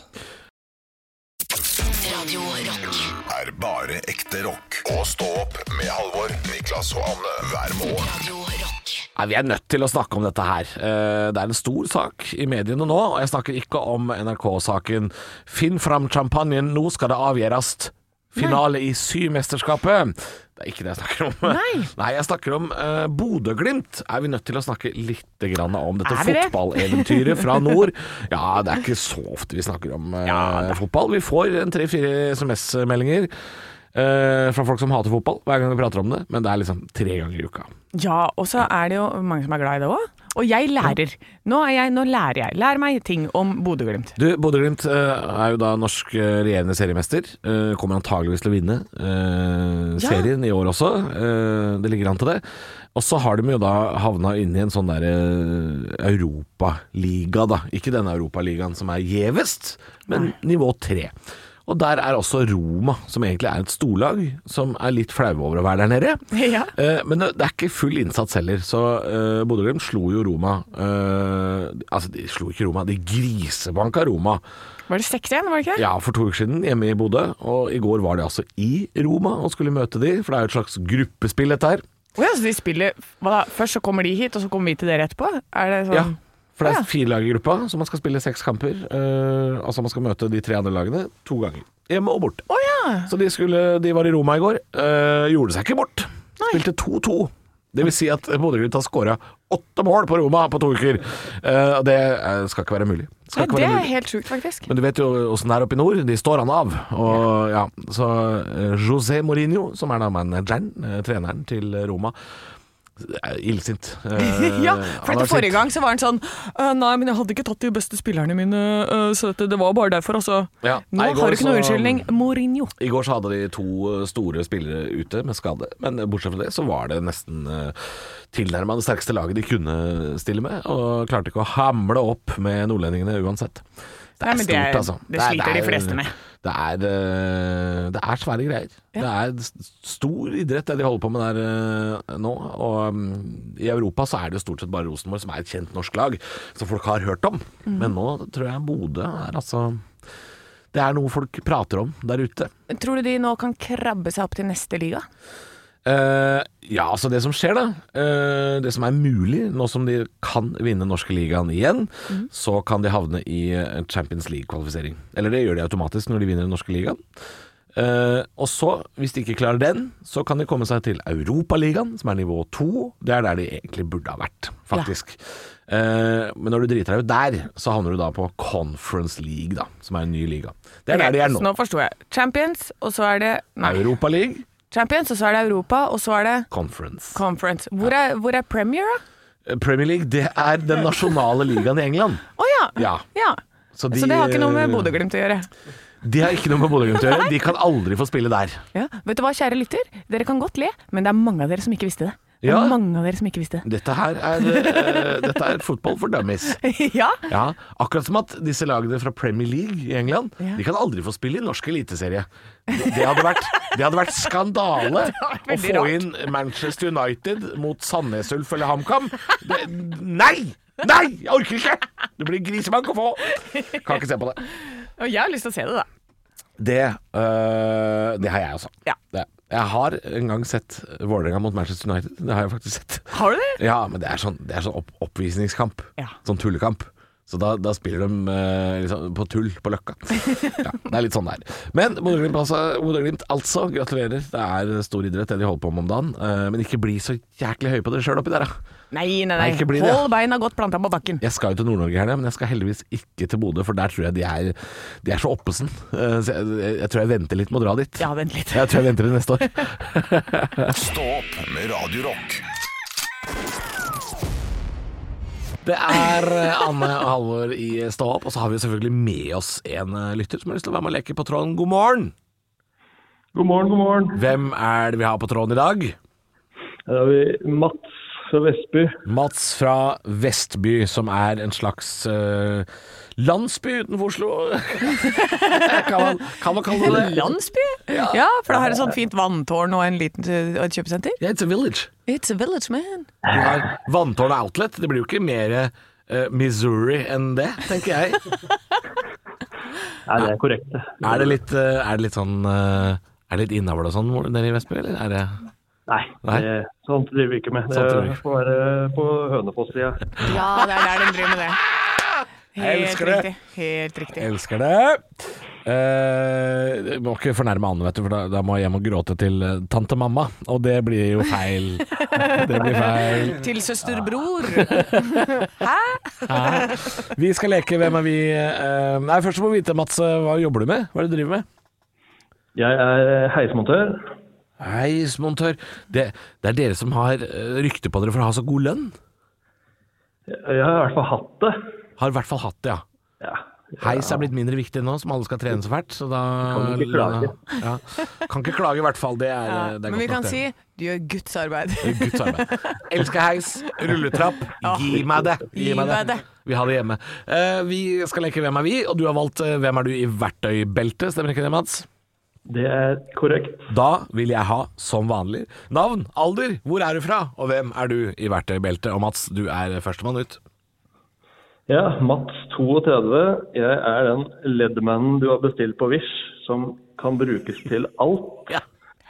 A: Radio Rock.
B: er bare ekte rock. Og stå opp med Halvor, Niklas og Anne hver morgen.
A: Radio Rock.
C: Nei, vi er nødt til å snakke om dette her. Eh, Det er en stor sak i mediene nå, og jeg snakker ikke om NRK-saken. Finn fram champagnen, nå skal det avgjøres. Finale i Symesterskapet. Det er ikke det jeg snakker om.
D: Nei.
C: jeg snakker om eh, Bodø-Glimt. Er vi nødt til å snakke litt grann om dette
D: Er vi det?
C: fotballeventyret fra nord? Ja, det er ikke så ofte vi snakker om eh, fotball. Vi får en tre-fire SMS-meldinger eh, fra folk som hater fotball hver gang vi prater om det, men det er liksom tre ganger i uka.
D: Ja, og så er det jo mange som er glad i det òg. Og jeg lærer. Nå, er jeg, nå lærer jeg. Lær meg ting om Bodø-Glimt.
C: Du, Bodø-Glimt eh, er jo da norsk eh, regjerende seriemester. Eh, Kommer antageligvis til å vinne eh,
D: Ja.
C: serien i år også. Eh, Det ligger an til det. Og så har de jo da havna inne i en sånn derre europaliga, da. Ikke denne europaligaen som er gjevest, men nivå tre. Og der er også Roma, som egentlig er et storlag, som er litt flaue over å være der nede.
D: Ja.
C: Eh, Men det det er ikke full innsats heller. Så uh, Bodø-Glimt slo jo Roma eh, Altså, de slo ikke Roma, de grisebanka Roma.
D: Var det 6-1, var det ikke det?
C: Ja, for to uker siden, hjemme i Bodø. Og i går var de altså i Roma og skulle møte de, for det er jo et slags gruppespill, dette her.
D: Å ja, så de spiller hva da? Først så kommer de hit, og så kommer vi til dere etterpå? Er det sånn?
C: Ja. For det
D: Ja.
C: er fire lag i gruppa, så man skal spille seks kamper. eh, altså man skal møte de tre andre lagene to ganger. Hjemme og borte.
D: Å ja!
C: Så de, skulle, de var i Roma i går. eh, gjorde seg ikke bort. Spilte 2-2. Det vil si at Bodø-Glimt har skåra åtte mål på Roma på to uker. Eh, Og det eh, skal ikke være mulig. Skal
D: Nei,
C: ikke
D: det
C: være
D: er
C: mulig.
D: helt sjukt, faktisk.
C: Men du vet jo åssen det er oppe i nord. De står han av. Og, ja. Så eh, José Mourinho, som er da manageren, eh, treneren til Roma, er illsint. Eh,
D: Ja,
C: han
D: for
C: er
D: etter forrige
C: sint.
D: gang så var han sånn «Øh, Nei, men jeg hadde ikke tatt de beste spillerne mine, øh, så dette, det var bare derfor, altså.
C: Ja.
D: Nå
C: Nei, i går
D: har du ikke noe
C: så-
D: unnskyldning. Mourinho.
C: I går så hadde de to eh, store spillere ute med skade, men bortsett fra det så var det nesten eh, tilnærma det sterkeste laget de kunne stille med, og klarte ikke å hamle opp med nordlendingene uansett. Det
D: Nei, men det er- det
C: er-
D: sliter de
C: er-
D: fleste med.
C: Det er, eh, det er svære greier. Det er s- stor idrett det de holder på med der eh, nå. Og mm, i Europa så er det jo stort sett bare Rosenborg som er et kjent norsk lag, som folk har hørt om.
D: Mm.
C: Men nå tror jeg Bodø er altså Det er noe folk prater om der ute.
D: Tror du de nå kan krabbe seg opp til neste liga?
C: Eh, ja, altså det som skjer da eh, Det som er mulig Nå som de kan vinne norske ligaen igjen Så kan de havne i eh, Champions League-kvalifisering Eller det gjør de automatisk når de vinner den norske ligaen Eh, Og så, hvis de ikke klarer den Så kan de komme seg til Europaligaen Som er nivå 2 Det er der de egentlig burde ha vært, faktisk Eh, Men når du driter deg ut der Så havner du da på Conference League da Som er en ny liga Det er der de er
D: Så
C: nå
D: nå forsto jeg. Champions, og så er det Nei.
C: Europa League,
D: Champions, og så er det Europa, og så er det
C: Conference
D: Conference. Hvor er, hvor er Premier, da?
C: Premier League det er den nasjonale ligaen i England.
D: Å ja.
C: Ja.
D: Så,
C: de- eh,
D: det har ikke noe med Bodø-Glimt å gjøre.
C: De har ikke noe med Bodø-Glimt å gjøre. De kan aldri få spille der.
D: Ja. Vet du hva, kjære lytter? Dere kan godt le, men det er mange av dere som ikke visste det. Det er
C: Ja.
D: mange av dere som ikke visste det.
C: Dette her er, eh, dette er fotball for dummies.
D: ja.
C: Ja, akkurat som at disse lagene fra Premier League i England
D: Ja.
C: De kan aldri få spille i norsk eliteserie. Det det hadde vært, det hadde vært skandale å
D: veldig
C: få
D: rart.
C: inn Manchester United mot Sandnes Ulf eller HamKam. Det- Nei! Nei! Jeg orker ikke! Det blir grisebank å få. Kan ikke se på det.
D: Og jeg har lyst til å se det, da.
C: Det, øh, det har jeg også.
D: Ja.
C: Det. Jeg har en gang sett Vålerenga mot Manchester United. Det har jeg faktisk sett.
D: Har du det?
C: Ja, men det er sånn, det er sånn opp oppvisningskamp.
D: Ja.
C: Sånn tullekamp. Så da, da spiller de øh, liksom, på tull på Løkka. Ja, det er litt sånn det er. Men Bodø-Glimt altså, Bodø-Glimt altså, gratulerer. Det er stor idrett det de holder på med om dagen. Eh, men ikke bli så jæklig høye på dere sjøl oppi der, da.
D: Nei, nei,
C: Nei,
D: nei.
C: ikke bli det.
D: Hold beina godt planta på bakken.
C: Jeg skal jo til Nord-Norge i helga, men jeg skal heldigvis ikke til Bodø, for der tror jeg de er, de er så oppesen. Eh, så jeg, jeg tror jeg venter litt med å dra dit.
D: Ja, vent litt.
C: Jeg tror jeg venter til neste år.
B: Stå opp med Radio Rock.
C: Det er eh, Anne og Halvor i Stå opp, og så har vi selvfølgelig med oss en eh, lytter som har lyst til å være med og leke på tråden. God morgen!
J: God morgen, god morgen.
C: Hvem er det vi har på tråden i dag?
J: Her har vi Mats fra Vestby.
C: Mats fra Vestby, som er en slags eh, landsby utenfor Oslo. kan, man, kan man kalle det det?
D: Landsby? Ja. for det har et sånt fint vanntårn og en liten, eh, et kjøpesenter.
C: Yeah, it's a village.
F: It's a village man.
C: Du har vanntårn og outlet. Det blir jo ikke mer eh, Missouri enn det, tenker jeg.
J: Nei, det er korrekt, det.
C: Er det litt, eh, er det litt sånn eh, Er det litt innavl og sånn hvor- nede i Vestby, eller? Er det
J: Nei,
C: Nei.
J: Det, sånt driver vi ikke med. Det
C: Sånt driver vi ikke.
J: får være på Hønefoss-sida.
D: Ja, det er der de driver med det. Helt
C: elsker det.
D: riktig. Helt riktig.
C: Elsker det. Eh, jeg må ikke fornærme Anne, vet du, for da, da må jeg hjem og gråte til eh, tante mamma. Og det blir jo feil. Det blir feil.
D: Til søsterbror.
C: Vi skal leke Hvem er vi? Eh, nei, først må vi vite, Mats, eh, hva jobber du med? Hva er det du driver med?
J: Jeg er heismontør.
C: Heismontør. Det, det er dere som har eh, rykte på dere for å ha så god lønn.
J: Jeg har i hvert fall hatt det.
C: Har i hvert fall hatt det, ja.
J: Ja.
C: Heis er blitt mindre viktig nå som alle skal trene så fælt, så da
J: Kan ikke klage.
C: Ja. Kan ikke klage, i hvert fall. Det er,
D: Ja,
C: det er
D: Men
C: godt
D: vi
C: nok,
D: kan
C: det.
D: si du gjør Guds arbeid.
C: Guds arbeid. Elsker heis, rulletrapp. Gi meg det.
D: Gi meg det.
C: Vi har det hjemme. Eh, vi skal leke Hvem er vi? Og du har valgt eh, Hvem er du i verktøybeltet, stemmer ikke det, Mats?
J: Det er korrekt.
C: Da vil jeg ha, som vanlig, navn, alder, hvor er du fra, og hvem er du i verktøybeltet? Og Mats, du er førstemann ut.
J: Ja, Mats 32. Jeg er den LED-mannen du har bestilt på Wish, som kan brukes til alt.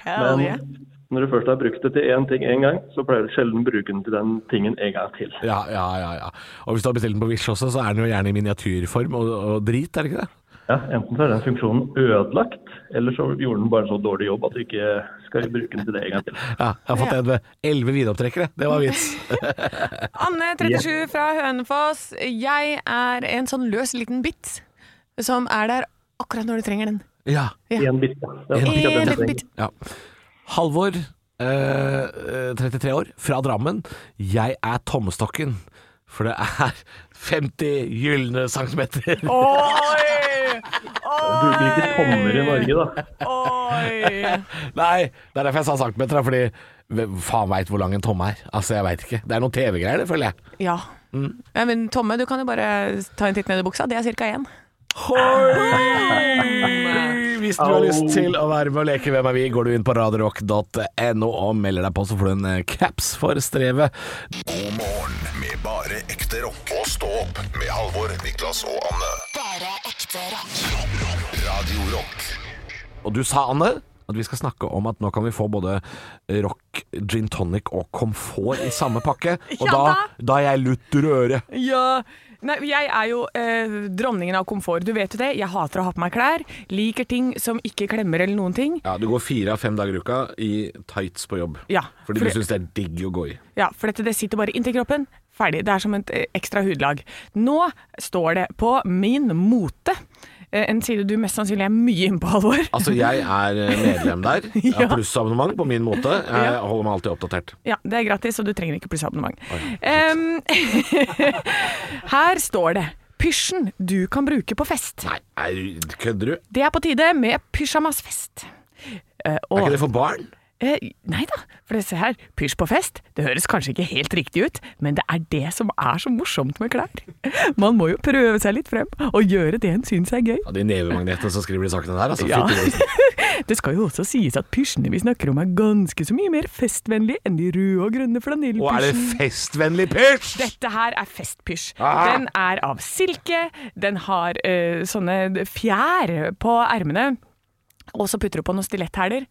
D: Hell yeah.
J: Men når du først har brukt det til én ting én gang, så pleier du sjelden å bruke den til den tingen en gang til.
C: Ja, ja, ja, ja. Og hvis du har bestilt den på Wish også, så er den jo gjerne i miniatyrform og, og drit, er det ikke det?
J: Ja, Enten så er den funksjonen ødelagt, eller så gjorde den bare en så dårlig jobb at du ikke skal bruke den til det en gang til.
C: Ja, jeg har fått en med elleve vidopptrekkere. Det var vits.
D: Anne, 37, fra Hønefoss. Jeg er en sånn løs liten bit som er der akkurat når du trenger den.
C: Ja.
J: Én bit. da. Det er
C: En
D: En
J: sikkert den
D: liten
J: trenger.
D: bit.
C: Ja. Halvor, eh, eh, 33 år, fra Drammen. Jeg er tommestokken, for det er 50 gylne centimeter.
D: Oi!
J: Du bruker ikke tommer i Norge, da.
D: Oi!
C: Nei, det er derfor jeg sa centimeter, fordi hvem faen veit hvor lang en tomme er. Altså, jeg veit ikke. Det er noen TV-greier, det, føler jeg.
D: Ja.
J: Mm.
D: ja. Men Tomme, du kan jo bare ta en titt ned i buksa. Det er ca. én.
C: Hvis du har lyst til å være med og leke Hvem er vi, går du inn på radiorock.no og melder deg på, så får du en eh, caps for strevet.
B: God morgen med bare ekte rock. Og stå opp med Halvor, Niklas og Anne.
A: Bare ekte rock.
B: Rock, rock, Radio Rock.
C: Og du sa, Anne, at vi skal snakke om at nå kan vi få både rock, gin tonic og komfort i samme pakke. Og
D: Ja
C: da,
D: da.
C: da er jeg lutter øre.
D: Ja. Nei, jeg er jo eh, dronningen av komfort. Du vet jo det. Jeg hater å ha på meg klær. Liker ting som ikke klemmer eller noen ting.
C: Ja, du går fire av fem dager i uka i tights på jobb.
D: Ja,
C: Fordi
D: fordi-
C: du syns det er digg å gå i.
D: Ja, for dette, det sitter bare inntil kroppen. Ferdig. Det er som et eh, ekstra hudlag. Nå står det på Min mote, eh, en side du mest sannsynlig er mye inne på, Halvor.
C: Altså, jeg er medlem der. Jeg har
D: Ja.
C: plussabonnement på min måte. Jeg
D: Ja.
C: holder meg alltid oppdatert.
D: Ja, det er gratis, og du trenger ikke plussabonnement. Em, her står det Pysjen du kan bruke på fest.
C: Nei, er, du- kødder du?
D: Det er på tide med pysjamasfest. Eh, og-
C: Er ikke det for barn?
D: Eh, nei da, for se her, pysj på fest, det høres kanskje ikke helt riktig ut, men det er det som er så morsomt med klær. Man må jo prøve seg litt frem, og gjøre det en syns er gøy.
C: Ja, de nevemagnetene som skriver de sakene der, altså.
D: Ja.
C: fytti grisen.
D: Det skal jo også sies at pysjene vi snakker om er ganske så mye mer festvennlige enn de røde og grønne
C: Og er det
D: flanellpysjene.
C: festvennlig pysj?
D: Dette her er festpysj.
C: Ah!
D: Den er av silke, den har eh, sånne fjær på ermene, og så putter du på noen stiletthæler.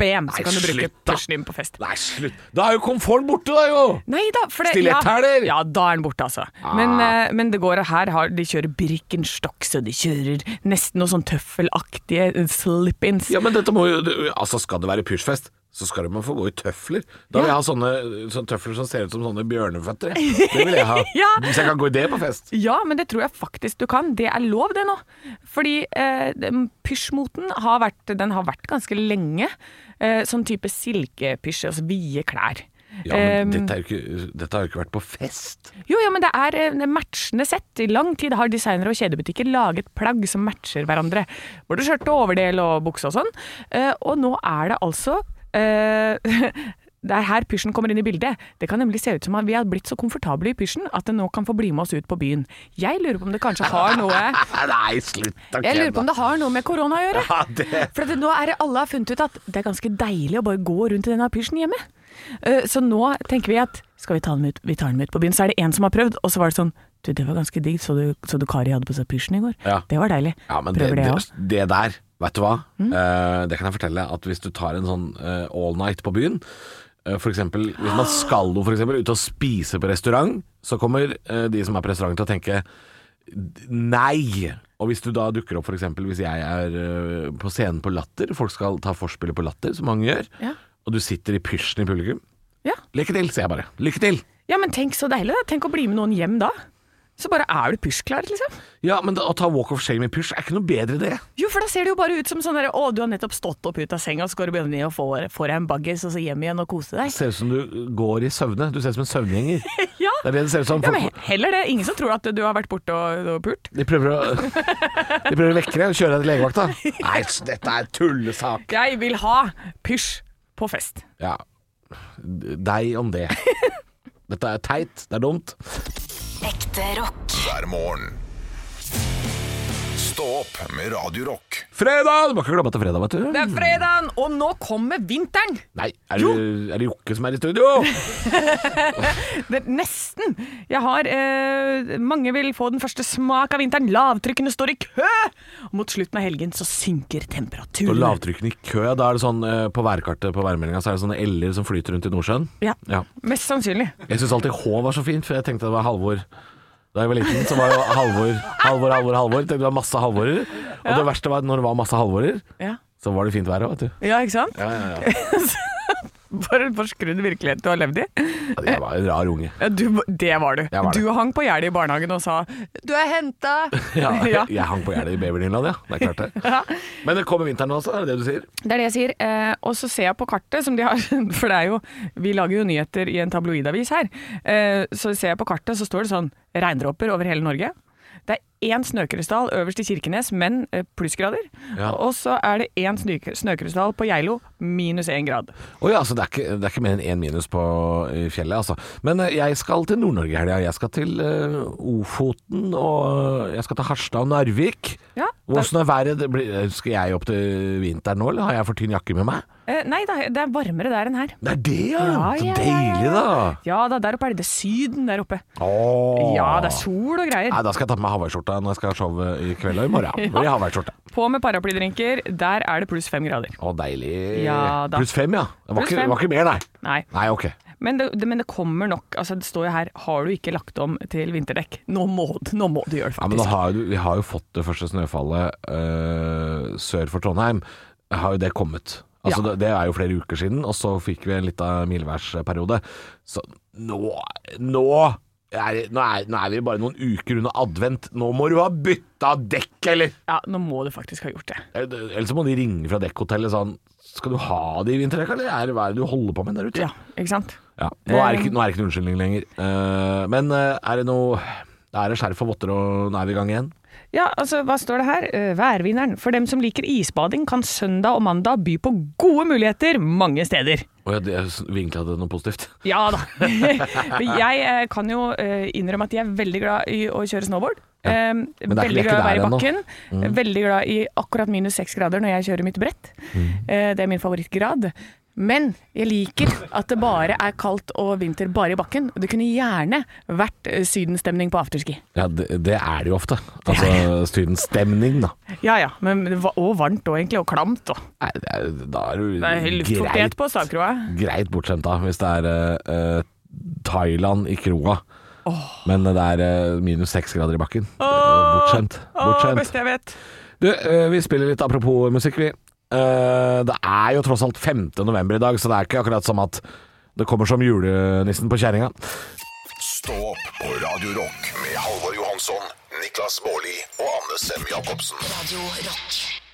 D: Bam, så
C: Nei,
D: kan du bruke
C: slutt da.
D: pysjen din på fest.
C: Nei, slutt. Da er jo komforten borte, da jo!
D: Nei da, for det
C: Stiletthæler!
D: Ja, ja, da er den borte, altså.
C: Ah.
D: Men, eh, men det går her har, De kjører Birkenstock, så de kjører nesten noe sånn tøffelaktige eh, slip-ins.
C: Ja, men dette må jo det- Altså, skal det være pysjfest, så skal man få gå i tøfler. Da vil jeg ha sånne, sånne tøfler som ser ut som sånne bjørneføtter. jeg. Det vil jeg ha.
D: Ja.
C: Hvis jeg kan gå i det på fest.
D: Ja, men det tror jeg faktisk du kan. Det er lov, det nå. Fordi eh, den pysjmoten har vært, den har vært ganske lenge. Eh, sånn type silkepysj, altså vide klær.
C: Ja, men
D: Ehm,
C: dette, er jo ikke, dette har jo ikke vært på fest.
D: Jo, ja, men det er eh, matchende sett. I lang tid har designere og kjedebutikker laget plagg som matcher hverandre. Både skjørt og overdel og bukse og sånn. Eh, og nå er det altså eh, Det er her pysjen kommer inn i bildet. Det kan nemlig se ut som at vi har blitt så komfortable i pysjen at den nå kan få bli med oss ut på byen. Jeg lurer på om det kanskje har noe
C: Nei, slutt å
D: Jeg lurer på om det har noe med korona å gjøre.
C: Ja, det-
D: For at det, nå er det alle har funnet ut at det er ganske deilig å bare gå rundt i denne pysjen hjemme. Eh, Så nå tenker vi at skal vi ta den med ut, vi tar den med ut på byen. Så er det en som har prøvd, og så var det sånn Du, det var ganske digg. Så du, så du Kari hadde på seg pysjen i går?
C: Ja.
D: Det var deilig.
C: Ja, men det,
D: Prøver det
C: det,
D: òg.
C: det der, vet du hva? Eh, det kan jeg fortelle at hvis du tar en sånn eh, all night på byen, eh, for eksempel, hvis man skal noe for eksempel, ut og spise på restaurant, så kommer eh, de som er på restaurant til å tenke nei. Og hvis du da dukker opp for eksempel hvis jeg er eh, på scenen på Latter, folk skal ta forspillet på Latter, som mange gjør,
D: Ja.
C: og du sitter i pysjen i publikum.
D: Ja.
C: Lykke til, sier jeg bare. Lykke til!
D: ja, men tenk så deilig, da. Tenk å bli med noen hjem da. Så bare er du pysjklar, liksom.
C: Ja, men da, å ta walk of shame i pysj er ikke noe bedre det.
D: Jo, for da ser det jo bare ut som sånn derre Å, du har nettopp stått opp ut av senga, så går du bare ned og får, får deg en baggis, og så hjem igjen og kose deg.
C: Ser ut som du går i søvne. Du ser ut som en søvngjenger.
D: Ja.
C: Det er det det ser ut som.
D: Ja, men heller det. Ingen som tror at du har vært borte og, og pult.
C: De prøver å, de prøver å vekke deg og kjøre deg til legevakta. Nei, s- dette er tullesak.
D: Jeg vil ha pysj på fest.
C: Ja, d- deg om det. Dette er teit, det er dumt.
A: Ekte rock.
B: hver morgen. Stå opp med Radio Rock.
C: Fredag! Du må ikke glemme at det er fredag, vet du.
D: Det er fredagen, og nå kommer vinteren!
C: Nei, er det, er det Jokke som er i studio?
D: Det er nesten. Jeg har eh, Mange vil få den første smak av vinteren. Lavtrykkene står i kø! Og mot slutten av helgen så synker
C: Og
D: temperaturen.
C: lavtrykkene i kø. Da er det sånn eh, på værkartet på værmeldinga så er det sånne l-er som flyter rundt i Nordsjøen.
D: Ja,
C: Ja.
D: Mest sannsynlig.
C: Jeg syns alltid H var så fint, for jeg tenkte det var Halvor. Da jeg var liten, så var det jo Halvor, Halvor, Halvor. Halvor. Tenkte det var masse Halvorer. Og det verste var at når det var masse Halvorer,
D: Ja,
C: så var det fint vær òg, vet du.
D: ja ikke sant?
C: Ja, ja, ja.
D: For en forskrudd virkelighet du har levd i.
C: Ja, Jeg var en rar unge.
D: Ja, du, det var du.
C: Jeg var det.
D: Du hang på gjerdet i barnehagen og sa 'du er henta'.
C: Ja,
D: Ja.
C: Jeg hang på gjerdet i Babyland, ja. Det er klart det.
D: Ja.
C: Men det kommer vinteren også, er det det du sier?
D: Det er det jeg sier. Eh, og så ser jeg på kartet som de har For det er jo Vi lager jo nyheter i en tabloidavis her. Eh, så ser jeg på kartet, så står det sånn regndråper over hele Norge. Det er én snøkrystall øverst i Kirkenes, men eh, plussgrader.
C: Ja.
D: Og så er det én snøk- snøkrystall på Geilo, minus én grad.
C: Å ja, så det er ikke, det er ikke mer enn én minus på i fjellet, altså. Men eh, jeg skal til Nord-Norge i helga. Jeg skal til eh, Ofoten, og eh, jeg skal til Harstad og Narvik.
D: Ja,
C: Åssen er været? Det blir- eh, Skal jeg opp til vinteren nå, eller har jeg for tynn jakke med meg?
D: Eh, nei da, det er varmere der enn her.
C: Det er det, ja!
D: Ja,
C: så
D: ja, ja,
C: deilig, da.
D: Ja da, der oppe er det, det er Syden der oppe.
C: Åh.
D: Ja, det er sol og greier.
C: Nei, da skal jeg ta på meg hawaiiskjorta når jeg skal ha show i kveld og i morgen. Det
D: Ja.
C: blir hawaiiskjorte.
D: På med paraplydrinker, der er det pluss fem grader.
C: Å, deilig.
D: Ja, da.
C: Pluss fem, ja. Det var,
D: Pluss
C: ikke, det
D: fem.
C: var ikke mer, nei.
D: Nei.
C: Nei, ok.
D: Men det, det, men det kommer nok. Altså, det står jo her 'har du ikke lagt om til vinterdekk'. Nå må, du- nå må du gjøre det,
C: Ja, men
D: faktisk.
C: nå har jo, vi har jo fått det første snøfallet eh, sør for Trondheim. Har jo det kommet? Altså,
D: Ja.
C: det, det er jo flere uker siden, og så fikk vi en liten mildværsperiode. Så nå Nå er, nå, er, nå er vi bare noen uker unna advent. Nå må du ha bytta dekk, eller?
D: ja, nå må du faktisk ha gjort det.
C: Ellers så må de ringe fra dekkhotellet sånn Skal du ha det i vinterdekk, eller er det hva er det du holder på med der ute?
D: Ja, ikke sant?
C: Ja, nå er det
D: Eh.
C: ikke, nå er det ikke noen unnskyldning lenger. Eh, men eh, er det noe Da er det skjerf og votter, og nå er vi i gang igjen.
D: Ja, altså, hva står det her? Eh, Værvinneren. For dem som liker isbading, kan søndag og mandag by på gode muligheter mange steder.
C: Å ja, jeg vinkla det noe positivt.
D: Ja da. For jeg eh, kan jo eh, innrømme at jeg er veldig glad i å kjøre snowboard. Eh,
C: det er ikke- vi er
D: veldig glad i å
C: ikke
D: være i
C: der Mm.
D: bakken. Veldig glad i akkurat minus seks grader når jeg kjører mitt brett.
C: Mm.
D: Eh, det er min favorittgrad. Men jeg liker at det bare er kaldt og vinter bare i bakken. Det kunne gjerne vært eh, sydenstemning på afterski.
C: Ja, det, det er det jo ofte. Altså studentstemning, da.
D: Ja ja, men det var- og varmt og egentlig, og klamt og
C: Nei, det er, da er du
D: Det er luftfuktighet på stavkroa.
C: greit bortskjemt, da, hvis det er eh, eh, Thailand i kroa. Men det er eh, minus seks grader i bakken. bortskjemt.
D: Å,
C: bortskjemt.
D: beste jeg vet.
C: Du, eh, vi spiller litt apropos musikk, vi. Eh, det er jo tross alt 5. november i dag, så det er ikke akkurat som at det kommer som julenissen på kjerringa.
B: Stå opp på Radio Rock med Halvor Johansson, Niklas Baarli og Anne Sem Jacobsen.
A: Radio Rock.